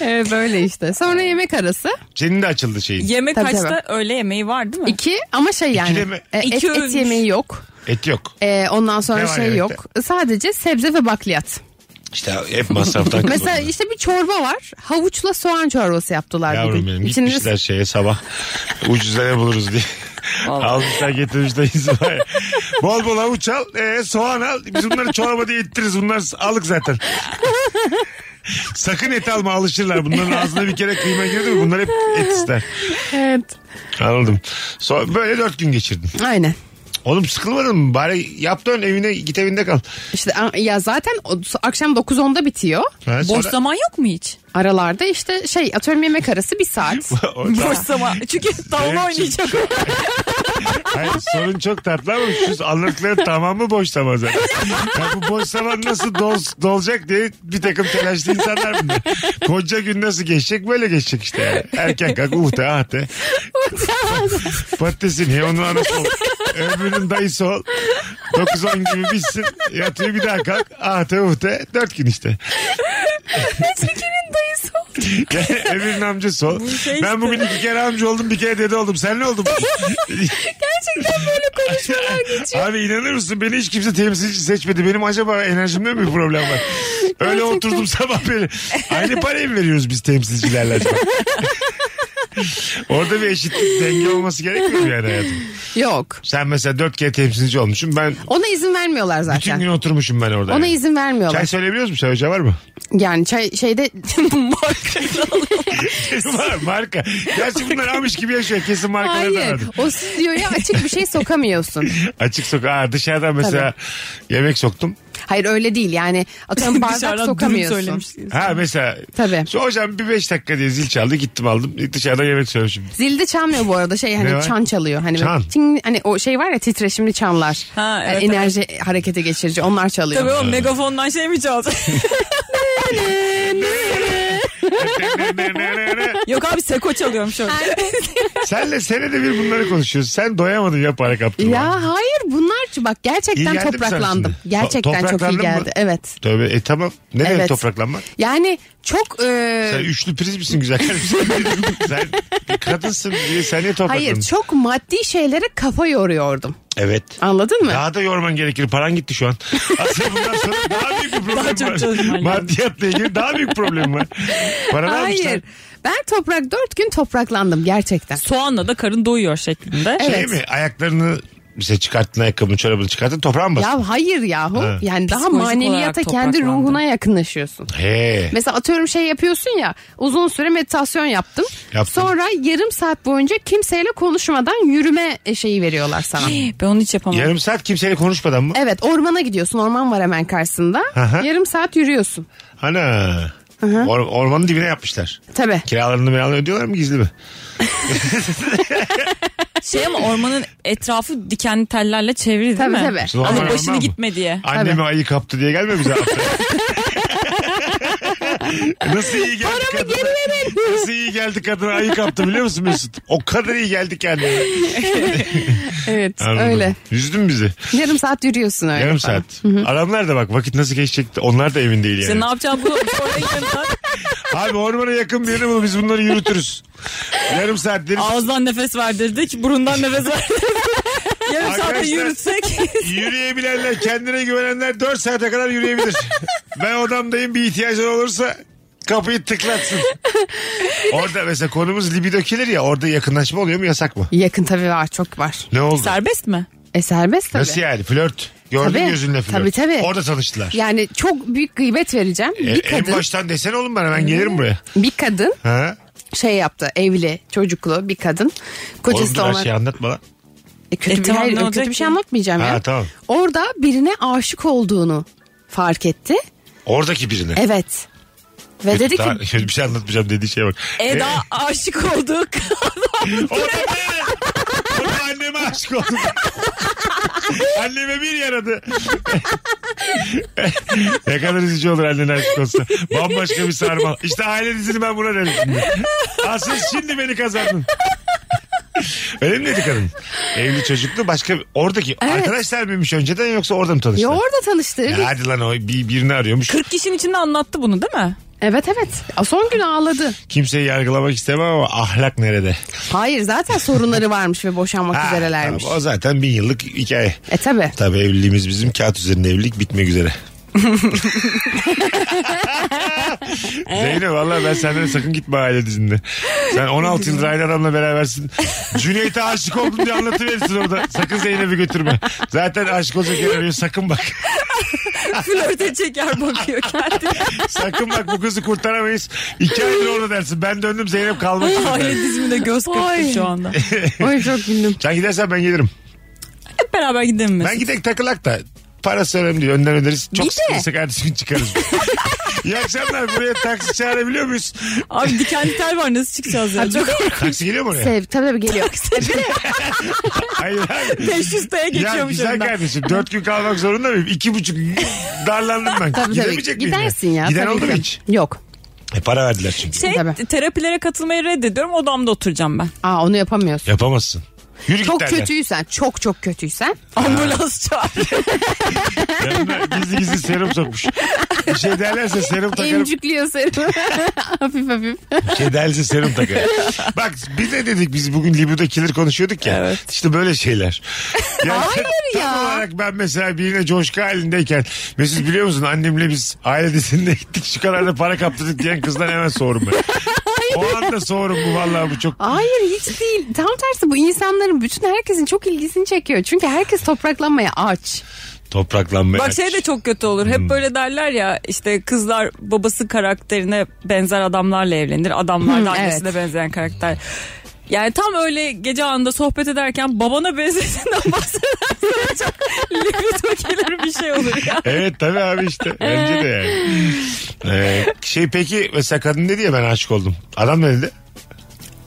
Ee, böyle işte. Sonra yemek arası. Senin de açıldı şeyin. Yemek Tabii, kaçta? tabii. Öğle yemeği var değil mi? İki ama şey yani. de mi? e, et, İki et ölmüş. yemeği yok. Et yok. E, ondan sonra Ne var şey yemekte? yok. Sadece sebze ve bakliyat. İşte hep masraftan Mesela kızıldı. işte bir çorba var. Havuçla soğan çorbası yaptılar Yavrum bugün. benim İçinde- gitmişler şeye sabah. Ucuza ne buluruz diye. Almışlar getirmişler İsmail. bol bol havuç al, ee, soğan al. Biz bunları çorba diye ittiririz. Bunlar alık zaten. Sakın et alma alışırlar. Bunların ağzına bir kere kıyma girdi mi? Bunlar hep et ister. Evet. Anladım. So- böyle dört gün geçirdim. Aynen. Oğlum sıkılmadın mı? Bari yap dön evine git evinde kal. İşte a- ya zaten o- akşam 9-10'da bitiyor. Ha, Boş sonra- zaman yok mu hiç? Aralarda işte şey atıyorum yemek arası bir saat. Orada- Boş zaman. Çünkü Benim tavla için- oynayacak. Hayır, sorun çok tatlı ama şu anlattıkların tamamı boş zaman zaten. Ya bu boş zaman nasıl dol, dolacak diye bir takım telaşlı insanlar bunlar. Koca gün nasıl geçecek böyle geçecek işte yani. Erken kalk uh de ah de. Patatesi niye onun anası ol. Öbürünün dayısı ol. 9-10 gibi bitsin. Yatıyor bir daha kalk. Ah de uh de. 4 gün işte. Yani öbürünün amcası ol. Bu şey Ben bugün iki kere amca oldum bir kere dede oldum. Sen ne oldun? Gerçekten böyle konuşmalar geçiyor. Abi inanır mısın beni hiç kimse temsilci seçmedi. Benim acaba enerjimde mi bir problem var? Öyle oturdum sabah beri. Aynı parayı mı veriyoruz biz temsilcilerle acaba? Orada bir eşitlik denge olması gerekmiyor mu yani hayatım? Yok. Sen mesela dört kere temsilci olmuşsun. Ben Ona izin vermiyorlar bütün gün zaten. oturmuşum ben orada. Ona yani. izin vermiyorlar. Çay söyleyebiliyoruz mu? Çay ocağı var mı? Yani çay şeyde var marka. Gerçi bunlar almış gibi yaşıyor. Kesin markaları da hayır. vardır. O stüdyoya açık bir şey sokamıyorsun. Açık sokağa dışarıdan mesela yemek soktum. Hayır öyle değil yani. Atıyorum bardak Dışarıdan dürüm sokamıyorsun. söylemiş. Ha mesela. Tabii. Şu hocam bir beş dakika diye zil çaldı gittim aldım. Dışarıdan yemek söylemişim. Zilde çalmıyor bu arada şey Ne var? hani çan çalıyor. Hani, böyle Çan. ting- hani o şey var ya titreşimli çanlar. Ha, evet, Yani enerji harekete geçirici onlar çalıyor. Tabii o megafondan şey mi çalacak? yok abi seko çalıyorum şöyle. Senle senede bir bunları konuşuyoruz. Sen doyamadın ya para kaptırma. Ya hayır bunlar bak İyi gerçekten geldi mi sana topraklandım. şimdi? Gerçekten çok iyi Topraklandın geldi. mı? Evet. Tövbe e tamam. Ne demek Evet. topraklanmak? Yani çok e, Sen üçlü priz misin güzel kardeşim? sen bir kadınsın diye sen niye topraklandın? hayır çok maddi şeylere kafa yoruyordum. Evet. Anladın mı? Daha da yorman gerekir. Paran gitti şu an. Aslında bundan sonra daha büyük bir problem Daha çok var. çalışman lazım. Maddiyatla ilgili daha büyük problem var. Paranı almışlar. Hayır. Ben toprak dört gün topraklandım gerçekten. Soğanla da karın doyuyor şeklinde. Evet. Şey mi? Ayaklarını mesela çıkarttın ayakkabını çorabını çıkarttın toprağa mı bastın? Ya hayır yahu. Ha. Yani daha Psikolojik maneviyata olarak kendi topraklandım. ruhuna yakınlaşıyorsun. He. Mesela atıyorum şey yapıyorsun ya uzun süre meditasyon yaptım. Yaptım. Sonra yarım saat boyunca kimseyle konuşmadan yürüme e, şeyi veriyorlar sana. Ben onu hiç yapamam. Yarım saat kimseyle konuşmadan mı? evet ormana gidiyorsun orman var hemen karşısında. Aha. yarım saat yürüyorsun. Ana. Or- ormanın dibine yapmışlar. Tabii. Kiralarını miralarını ödüyorlar mı gizli mi? Şey ama ormanın etrafı dikenli tellerle çevrili değil Tabii, mi? tabii. Şimdi orman Hani orman başını mı? gitme diye. Annemi ayı kaptı diye gelme bize haftaya. Nasıl iyi geldi Paramı kadına? geri verin. Nasıl iyi geldi kadına ayı kaptı biliyor musun Mesut? O kadar iyi geldi kendine. Evet Anladım. öyle. Üzdün bizi. Yarım saat yürüyorsun öyle. Yarım falan. saat. Adamlar da bak vakit nasıl geçecek onlar da emin değil yani. İşte ne yapacağım bu oraya gidelim. Abi ormana yakın bir yere bul biz bunları yürütürüz. Yarım saat deriz. Ağızdan nefes verdirdik, burundan nefes verdirdik. Yarım saatte Arkadaşlar- yürütsek. Yürüyebilenler kendine güvenenler 4 saate kadar yürüyebilir. Ben odamdayım bir ihtiyacın olursa kapıyı tıklatsın. Orada mesela konumuz libido killer ya orada yakınlaşma oluyor mu yasak mı? Yakın tabii var çok var. Ne oldu? Serbest mi? E serbest tabii. Nasıl yani flört? Gördün Tabii. gözünle flört. Tabii, tabii. Orada tanıştılar. Yani çok büyük gıybet vereceğim. E, bir en kadın, baştan desene oğlum bana ben gelirim buraya. bir kadın Ha? şey yaptı. Evli, çocuklu bir kadın. Oğlum Kocası dur da her ona şeyi anlatma lan. E, kötü E, bir tamam, hayır, ne olacak kötü bir ki? şey anlatmayacağım Ha, ya. tamam. Orada birine aşık olduğunu fark etti. Oradaki birine. Evet. Ve dedi Daha- ki bir şey anlatmayacağım dediği şeye bak. Eda E, aşık olduk. Orada ne? Orada anneme aşık oldum. Anneme bir yaradı. ne kadar üzücü olur annene aşık olsa. Bambaşka bir sarmal. İşte aile dizini ben buna derim şimdi. Asıl şimdi beni kazandın. Öyle mi dedi kadın? Evli çocuklu başka oradaki arkadaşlar mıymış önceden yoksa orada mı ya tanıştılar? orada tanıştı. Ya hadi lan o bir, birini arıyormuş. 40 kişinin içinde anlattı bunu değil mi? Evet evet. A, Son gün ağladı. Kimseyi yargılamak istemem ama ahlak nerede? Hayır zaten sorunları varmış ve boşanmak Ha, üzerelermiş. tamam, o zaten bin yıllık hikaye. E tabi. Tabii evliliğimiz bizim kağıt üzerinde evlilik bitmek üzere. Zeynep valla ben senden sakın gitme aile dizinde. Sen 16 yıldır aynı adamla berabersin. Cüneyt'e aşık oldum diye anlatıverirsin orada. Sakın Zeynep'i götürme. Zaten aşık olacak yer arıyor. Sakın bak. Flörte çeker bakıyor kendine. Sakın bak bu kızı kurtaramayız. İki aydır orada dersin. Ben döndüm Zeynep kalmak Aile istedim. dizimine göz kırptı Ay. şu anda. Oy çok güldüm. Sen gidersen ben gelirim. Hep beraber gidelim mi? Ben gidek takılak da parası önemli değil. Önden öderiz. Bir Çok de- sıkılırsak ertesi gün çıkarız. İyi akşamlar. Buraya taksi çağırabiliyor muyuz? Abi dikenli tel var nasıl çıkacağız ya? Çok Taksi geliyor mu oraya? Sev, tabii tabii geliyor. Hayır hayır. 500 T'ye Ya geçiyormuş güzel önünden. kardeşim dört gün kalmak zorunda mıyım? İki buçuk gün darlandım ben. tabii tabii. Gidemeyecek miyim? ben? Gidersin ya. Giden tabii oldu mu ki. hiç? Yok. E, para verdiler çünkü. Şey Tabii. terapilere katılmayı reddediyorum odamda oturacağım ben. Aa onu yapamıyorsun. Yapamazsın. Yürü çok git derler. kötüysen, çok çok kötüysen. Ambulans çağır. Yanına gizli gizli serum sokmuş. Bir şey derlerse serum takarım. Emcükliyor seni. hafif hafif. Bir şey derlerse serum takarım. Bak biz ne dedik biz bugün libido killer konuşuyorduk ya. İşte böyle şeyler. Yani Hayır ya. Tam olarak ben mesela birine coşku halindeyken Mesut biliyor musun annemle biz aile dizinde gittik şu kadar da para kaptırdık diyen kızdan hemen soğurum ben. O anda soğurum bu vallahi bu çok Hayır hiç değil. Tam tersi bu insanların bütün herkesin çok ilgisini çekiyor. Çünkü herkes topraklanmaya aç. Topraklanmaya. Bak şey de çok kötü olur. Hmm. Hep böyle derler ya işte kızlar babası karakterine benzer adamlarla evlenir. Adamlar da Hı, evet. annesine benzeyen karakter. Yani tam öyle gece anında sohbet ederken babana benzesinden bahsedersen çok libido gelir bir şey olur ya. Evet tabii abi işte. Bence de yani. Ee, şey peki mesela kadın dedi ya ben aşık oldum. Adam ne dedi?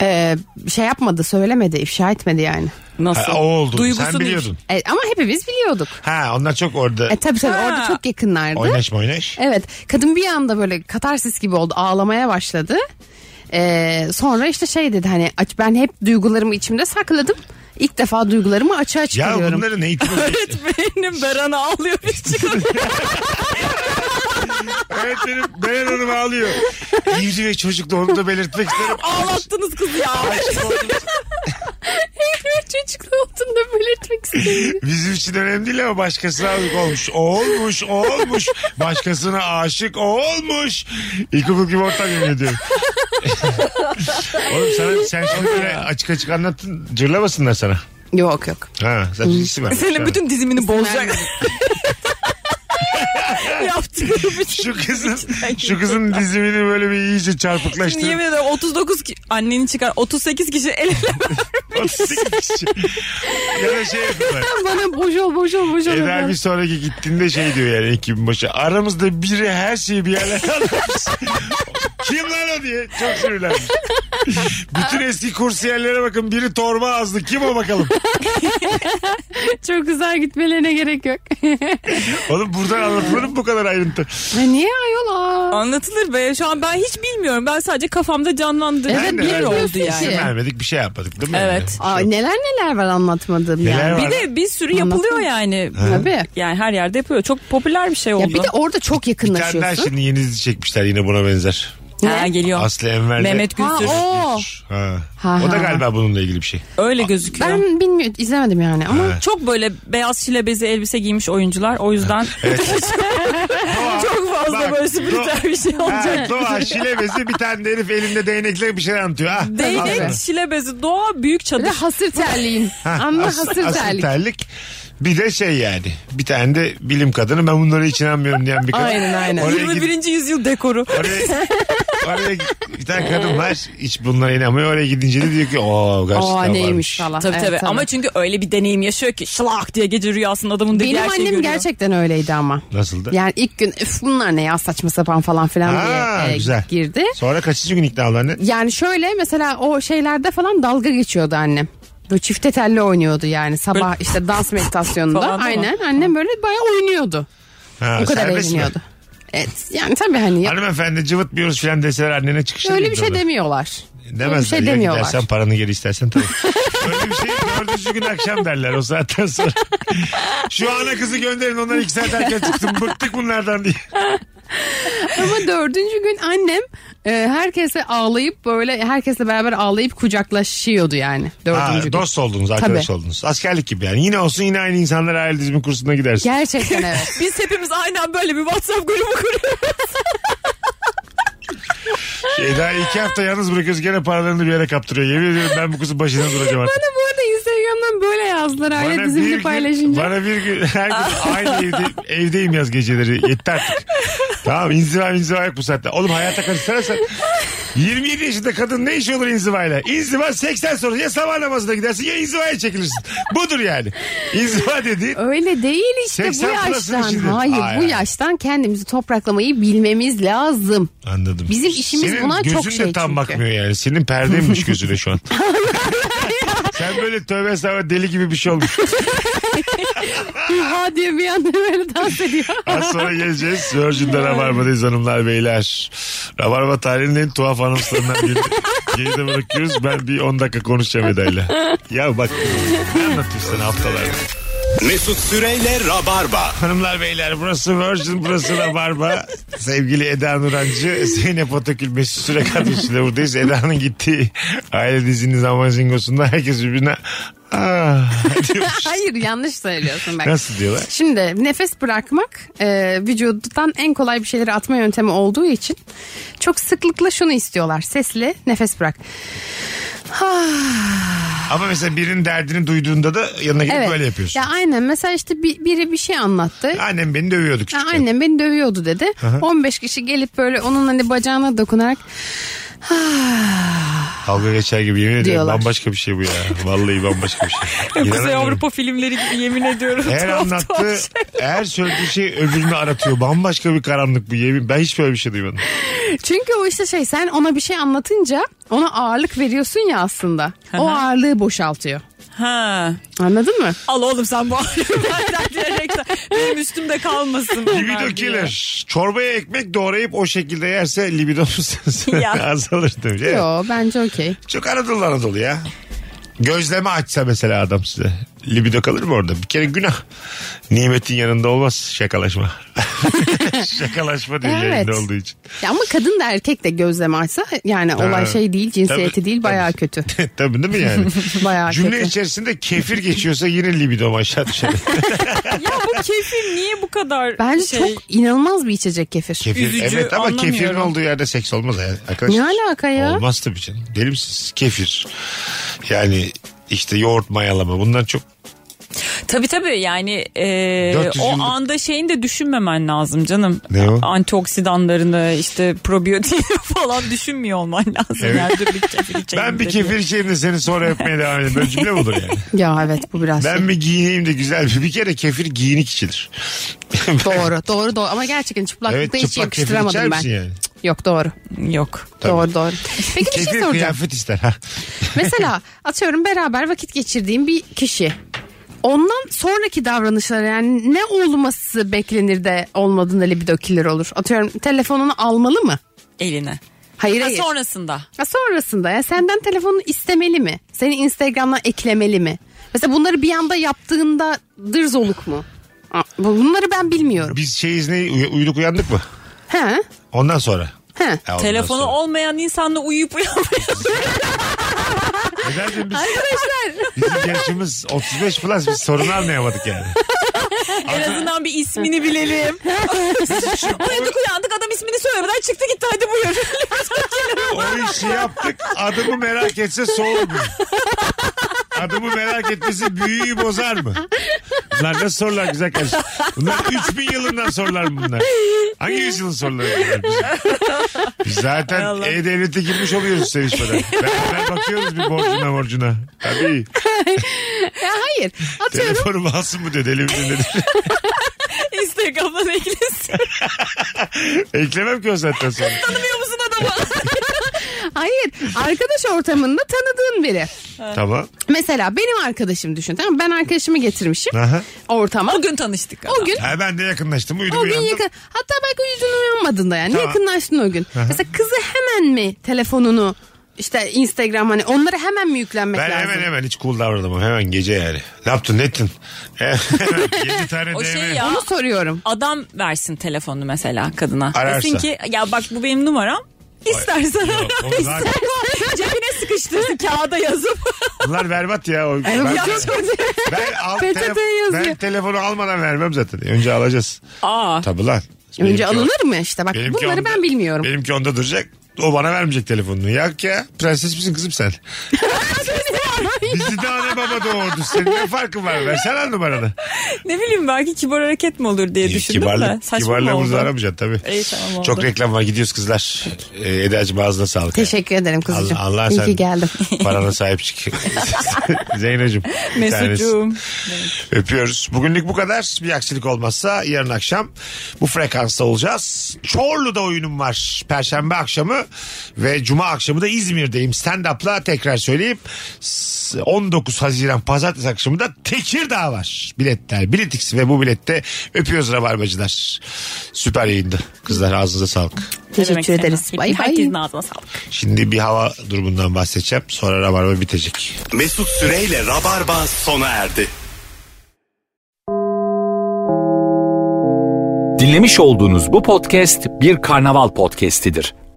Ee, şey yapmadı, söylemedi, ifşa etmedi yani. Nasıl? Ha, o oldu. Sen Duygusunu- biliyordun. E, ama hepimiz biliyorduk. Ha onlar çok orada E tabii tabii Ha. orada çok yakınlardı. oynaş mı oynaş? Evet kadın bir anda böyle katarsis gibi oldu ağlamaya başladı. Ee, sonra işte şey dedi hani aç ben hep duygularımı içimde sakladım. İlk defa duygularımı açığa Ya çıkarıyorum. bunların eğitimi. Benim Beran ağlıyor şey. biz çıkıyoruz. evet benim Beren Hanım ağlıyor. İvri ve çocuk da onu da belirtmek isterim. Ağlattınız kızı ya. Çocuklu olduğunda belirtmek istedim. Bizim için önemli değil ama başkasına aşık olmuş. O olmuş, o olmuş. Başkasına aşık o olmuş. İlkokul gibi ortam yemin ediyorum. Oğlum sana, sen şimdi böyle açık açık anlattın. Cırlamasınlar sana. yok yok. Ha, sen bilgisi var. Senin bütün dizimini bozacak. Yaptıkları bütün. şu kızın şu kızın dizimini böyle bir iyice Şimdi çarpıklaştırıp yemin ederim 39 ki- anneni çıkar 38 kişi el ele 38 kişi. ya da şey yapıyorlar. Bana boş ol boş ol boş ol. Eda bir sonraki gittiğinde şey diyor yani ekibin başı. Aramızda biri her şeyi bir yerlere anlatmış. Kim lan o diye çok sinirlenmiş. Bütün eski kursiyerlere bakın biri torba azdı. Kim o bakalım? Çok güzel gitmelerine gerek yok. Oğlum buradan anlatılır mı bu kadar ayrıntı? Ya niye ayol aa? Anlatılır be. Şu an ben hiç bilmiyorum. Ben sadece kafamda canlandı. Evet, bir yer bilmiyorsun oldu yani. ki. İzin vermedik bir şey yapmadık değil mi? Evet. Aa, neler neler var anlatmadığım Neler yani. var? Bir de bir sürü yapılıyor Anlatsana. yani. Tabii. Yani her yerde yapıyor. Çok popüler bir şey oldu. Ya bir de orada çok Bir tane daha yakınlaşıyorsun. şimdi yeni dizi çekmişler yine buna benzer. Ha, geliyor. Aslı Enver'le. Mehmet Gülsür. Ha, o. şey Ha. Ha, O da ha. galiba bununla ilgili bir şey. Öyle gözüküyor. Ben bilmiyorum izlemedim yani ama Çok böyle beyaz şile bezi elbise giymiş oyuncular. O yüzden çok fazla Bak, böyle spiritüel do- bir şey olacak. Ha, doğa şilebesi bir tane de herif elinde değnekle bir şeyler anlatıyor. Ah, Ha, Değnek, Aslında. şile bezi, doğa, büyük bir de çadır. hasır terliğin. Anla As- hasır asıl terlik. terlik. Bir de şey yani bir tane de bilim kadını ben bunlara hiç inanmıyorum diyen bir kadın. Aynen aynen. Oraya gidip 21. yüzyıl dekoru. Oraya, oraya bir tane kadın var hiç bunlara inanmıyor. Oraya gidince de diyor ki o gerçekten Aa varmış. neymiş falan. Tabii Evet, tabii. Ama çünkü öyle bir deneyim yaşıyor ki şlak diye gece rüyasında adamın dediği Benim her şeyi annem görüyor. gerçekten öyleydi ama. Nasıldı? Yani ilk gün "Üf, bunlar ne ya saçma sapan falan filan Ha, diye e, güzel. girdi. Sonra kaçıncı gün ikna oldu anne? Yani şöyle mesela o şeylerde falan dalga geçiyordu annem. Böyle çifte telli oynuyordu yani sabah işte dans meditasyonunda. Falan da mı? Aynen annem böyle bayağı oynuyordu. Ha, o kadar serbest mi? eğleniyordu. Evet yani tabii hani ya- Hanımefendi cıvıtmıyoruz falan deseler annene çıkışta öyle bir şey demiyor. demiyorlar. Öyle bir Demezler şey ya demiyorlar. gidersen paranı geri istersen tabii. Öyle bir şey dördüncü gün akşam derler o saatten sonra. Şu ana kızı gönderin onlar iki saat erken çıksın bıktık bunlardan diye. Ama dördüncü gün annem e, herkese ağlayıp böyle herkesle beraber ağlayıp kucaklaşıyordu yani Ha, dördüncü gün. dost oldunuz arkadaş Tabii. oldunuz. Askerlik gibi yani yine olsun yine aynı insanlar aile dizimi kursuna gidersin. Gerçekten evet. Biz hepimiz aynen böyle bir WhatsApp grubu kuruyoruz. Eda iki hafta yalnız bırakıyoruz gene paralarını bir yere kaptırıyor. Yemin ediyorum ben bu kızın başına duracağım artık. Bu arada Instagram'dan böyle yazdılar aile dizimini paylaşınca. bana bir gün her gün aynı evde, evdeyim yaz geceleri. Yetti artık. tamam inziva inziva yok bu saatte. Oğlum hayata karışsana sen. 27 yaşında kadın ne işi olur inzivayla? İnziva 80 sonrası ya sabah namazına gidersin ya inzivaya çekilirsin. Budur yani. İnziva dediğin Öyle değil işte bu 80 plus'ın yaştan. içinde. Hayır Hayır, bu hayır. yaştan kendimizi topraklamayı bilmemiz lazım. Anladım. Bizim işimiz Senin buna çok gözün de şey tam çünkü. bakmıyor yani. Senin perdeymiş gözüne şu an. Sen böyle tövbe estağfurullah deli gibi bir şey olmuş. Ha diye bir anda böyle dans ediyor. Az sonra geleceğiz. Virgin'de Rabarba'dayız hanımlar beyler. Rabarba tarihinin en tuhaf anımslarından biri. Geride bırakıyoruz. Ben bir 10 dakika konuşacağım Eda'yla. Ya bak ne anlatayım sana haftalarda. Mesut Süreyle Rabarba. Hanımlar beyler burası Virgin burası Rabarba. Sevgili Eda Nurancı, Zeynep Atakül Mesut Süre kadrosuyla buradayız. Eda'nın gittiği aile dizinin zaman zingosunda herkes birbirine ah diyormuş. Hayır yanlış söylüyorsun bak. Nasıl diyorlar? Şimdi nefes bırakmak e, vücuttan en kolay bir şeyleri atma yöntemi olduğu için çok sıklıkla şunu istiyorlar. Sesli nefes bırak. Ama mesela birinin derdini duyduğunda da yanına gidip Evet. böyle yapıyorsun. Ya aynen mesela işte bir- biri bir şey anlattı. Annem beni dövüyordu Ha, küçükken. annem beni dövüyordu dedi. 15 kişi gelip böyle onun hani bacağına dokunarak "Ah, Kavga geçer gibi yemin ediyorum. Diyorlar. Bambaşka bir şey bu ya. Vallahi bambaşka bir şey. Kuzey İnanamıyorum. Avrupa filmleri gibi yemin ediyorum. Her Tuhaf tuhaf anlattığı, şey. her söylediği şey öbürünü aratıyor. Bambaşka bir karanlık bu yemin. Ben hiç böyle bir şey duymadım. Çünkü o işte şey sen ona bir şey anlatınca ona ağırlık veriyorsun ya aslında. O ağırlığı boşaltıyor. Ha. Anladın mı? Al oğlum sen bu ağrıyı benden diyerekten benim üstümde kalmasın. bunlar Libido diye. killer. Çorbaya ekmek doğrayıp o şekilde yerse libidomuz Ya. azalır demiş. Evet. Yo bence okey. Çok Anadolu Anadolu ya. Gözleme açsa mesela adam size. Libido kalır mı orada? Bir kere günah. Nimetin yanında olmaz şakalaşma. şakalaşma diye Evet. yayında olduğu için. Ya ama kadın da erkek de gözleme açsa yani olay şey değil cinsiyeti Tabii, değil bayağı tabii. kötü. Tabii değil mi yani? Bayağı Cümle kötü. içerisinde kefir geçiyorsa yine libidom aşağı düşer. Ya bu kefir niye bu kadar Bence şey? çok inanılmaz bir içecek kefir. kefir, Üzücü, evet ama anlamıyorum. kefirin olduğu yerde seks olmaz ya arkadaşlar. Ne alaka ya? Olmaz tabii canım. Deli misiniz? Kefir. Yani işte yoğurt mayalama bunlar çok Tabii tabii yani e, 400 o yıllık- anda şeyini de düşünmemen lazım canım. Ne o? Antioksidanlarını işte probiyotiği falan düşünmüyor olman lazım. Evet. Yani dur bir kefir içeyim ben bir de kefir diyor. içeyim de seni sonra öpmeye devam edeyim. Böyle cümle mi olur yani? Ya evet bu biraz şey. Ben bir giyineyim de güzel bir. Bir kere kefir giyinik içilir. Doğru doğru doğru ama gerçekten çıplaklıkta evet hiç çıplak kefir içer yakıştıramadım ben. misin yani? Yok doğru. Yok. Doğru doğru. Peki bir şey Kefir soracağım. kıyafet ister. ha. Mesela atıyorum beraber vakit geçirdiğim bir kişi. Ondan sonraki davranışları yani ne olması beklenir de olmadığında libido killer olur. Atıyorum telefonunu almalı mı? Eline. Hayır Ha, hayır. sonrasında. Ha, sonrasında ya senden telefonunu istemeli mi? Seni Instagram'dan eklemeli mi? Mesela bunları bir anda yaptığında dırzoluk mu? Ha, Bunları ben bilmiyorum. Biz şeyiz ne uy- uyuduk uyandık mı? He? Ondan sonra. He. Ha, ondan Telefonu sonra. olmayan insanla uyuyup uyanmıyor. Nedense biz, Arkadaşlar bizim yaşımız 35 plus biz sorunu anlayamadık yani. en azından bir ismini bilelim. Uyandık uyandık adam ismini söylemeden çıktı gitti hadi buyur. O işi yaptık adımı merak etse soğuk mu? Adımı merak etmesi büyüyü bozar mı? Bunlar nasıl sorular güzel kardeşim? Bunlar 3000 yılından sorular mı bunlar? Hangi yüzyılın soruları bunlar bizim? Biz zaten Allah. E-Devlet'e girmiş oluyoruz sevişmeden. Beraber bakıyoruz bir borcuna borcuna. Tabii. ya hayır. Atıyorum Telefonumu alsın mı diyor deli midir dedi. Instagram'dan eklesin. Eklemem ki o zaten sonra. Tanımıyor musun adamı? hayır. Arkadaş ortamında tanıdığın biri. tamam. Mesela benim arkadaşım düşün. Tamam mı? ben arkadaşımı getirmişim Aha. ortama. o gün tanıştık. O gün Ha, ben de yakınlaştım uyudum o gün uyandım. yakın. Hatta belki o yüzünü uyanmadın da yani. Tamam. Yakınlaştın o gün. Mesela kızı hemen mi telefonunu işte Instagram hani onlara hemen mi yüklenmek Ben lazım? hemen hemen hiç cool davranamam. Hemen gece yani. Ne yaptın ne ettin? 7 tane O DM. şey ya. Onu soruyorum. Adam versin telefonunu mesela kadına. Ararsa. Desin ki ya bak bu benim numaram. İstersen Yok, ara. onu zaten- İstersen cebine sıkıştırsın kağıda yazıp. Bunlar berbat ya. O, ben, bu çok kötü. ben, al, PTT tele- ben yazıyor. telefonu almadan vermem zaten. Önce alacağız. Aa. Tabii lan. Benimki Önce o- alınır mı işte bak benimki bunları onda- ben bilmiyorum. Benimki onda duracak. O bana vermeyecek telefonunu. Yak ya. Prenses misin kızım sen? Bizi de ana baba doğurdu. Senin ne farkın var? Versene al numaranı. Ne bileyim belki kibar hareket mi olur diye E, düşündüm de. Kibarlık, Saçma mı kibarlığımızı oldu? aramayacaksın tabii. İyi, tamam, oldu. Çok reklam var. Gidiyoruz kızlar. Ee, Eda'cığım ağzına sağlık. Teşekkür ederim kuzucuğum. Allah, Allah İyi sen ki geldim. parana sahip çık. Zeynacığım. bir tanesi. Mesut'cum. Öpüyoruz. Bugünlük bu kadar. Bir aksilik olmazsa yarın akşam bu frekansta olacağız. Çorlu'da oyunum var. Perşembe akşamı ve Cuma akşamı da İzmir'deyim. Stand-up'la tekrar söyleyeyim. S- 19 Haziran Pazartesi akşamı da Tekirdağ var. Biletler. Biletix ve bu bilette öpüyoruz rabarbacılar. Süper yayındı. Kızlar ağzınıza sağlık. Teşekkür ederiz. Bay bay. Herkesin ağzına sağlık. Şimdi bir hava durumundan bahsedeceğim. Sonra rabarba bitecek. Mesut Süreyle Rabarba sona erdi. Dinlemiş olduğunuz bu podcast bir karnaval podcastidir.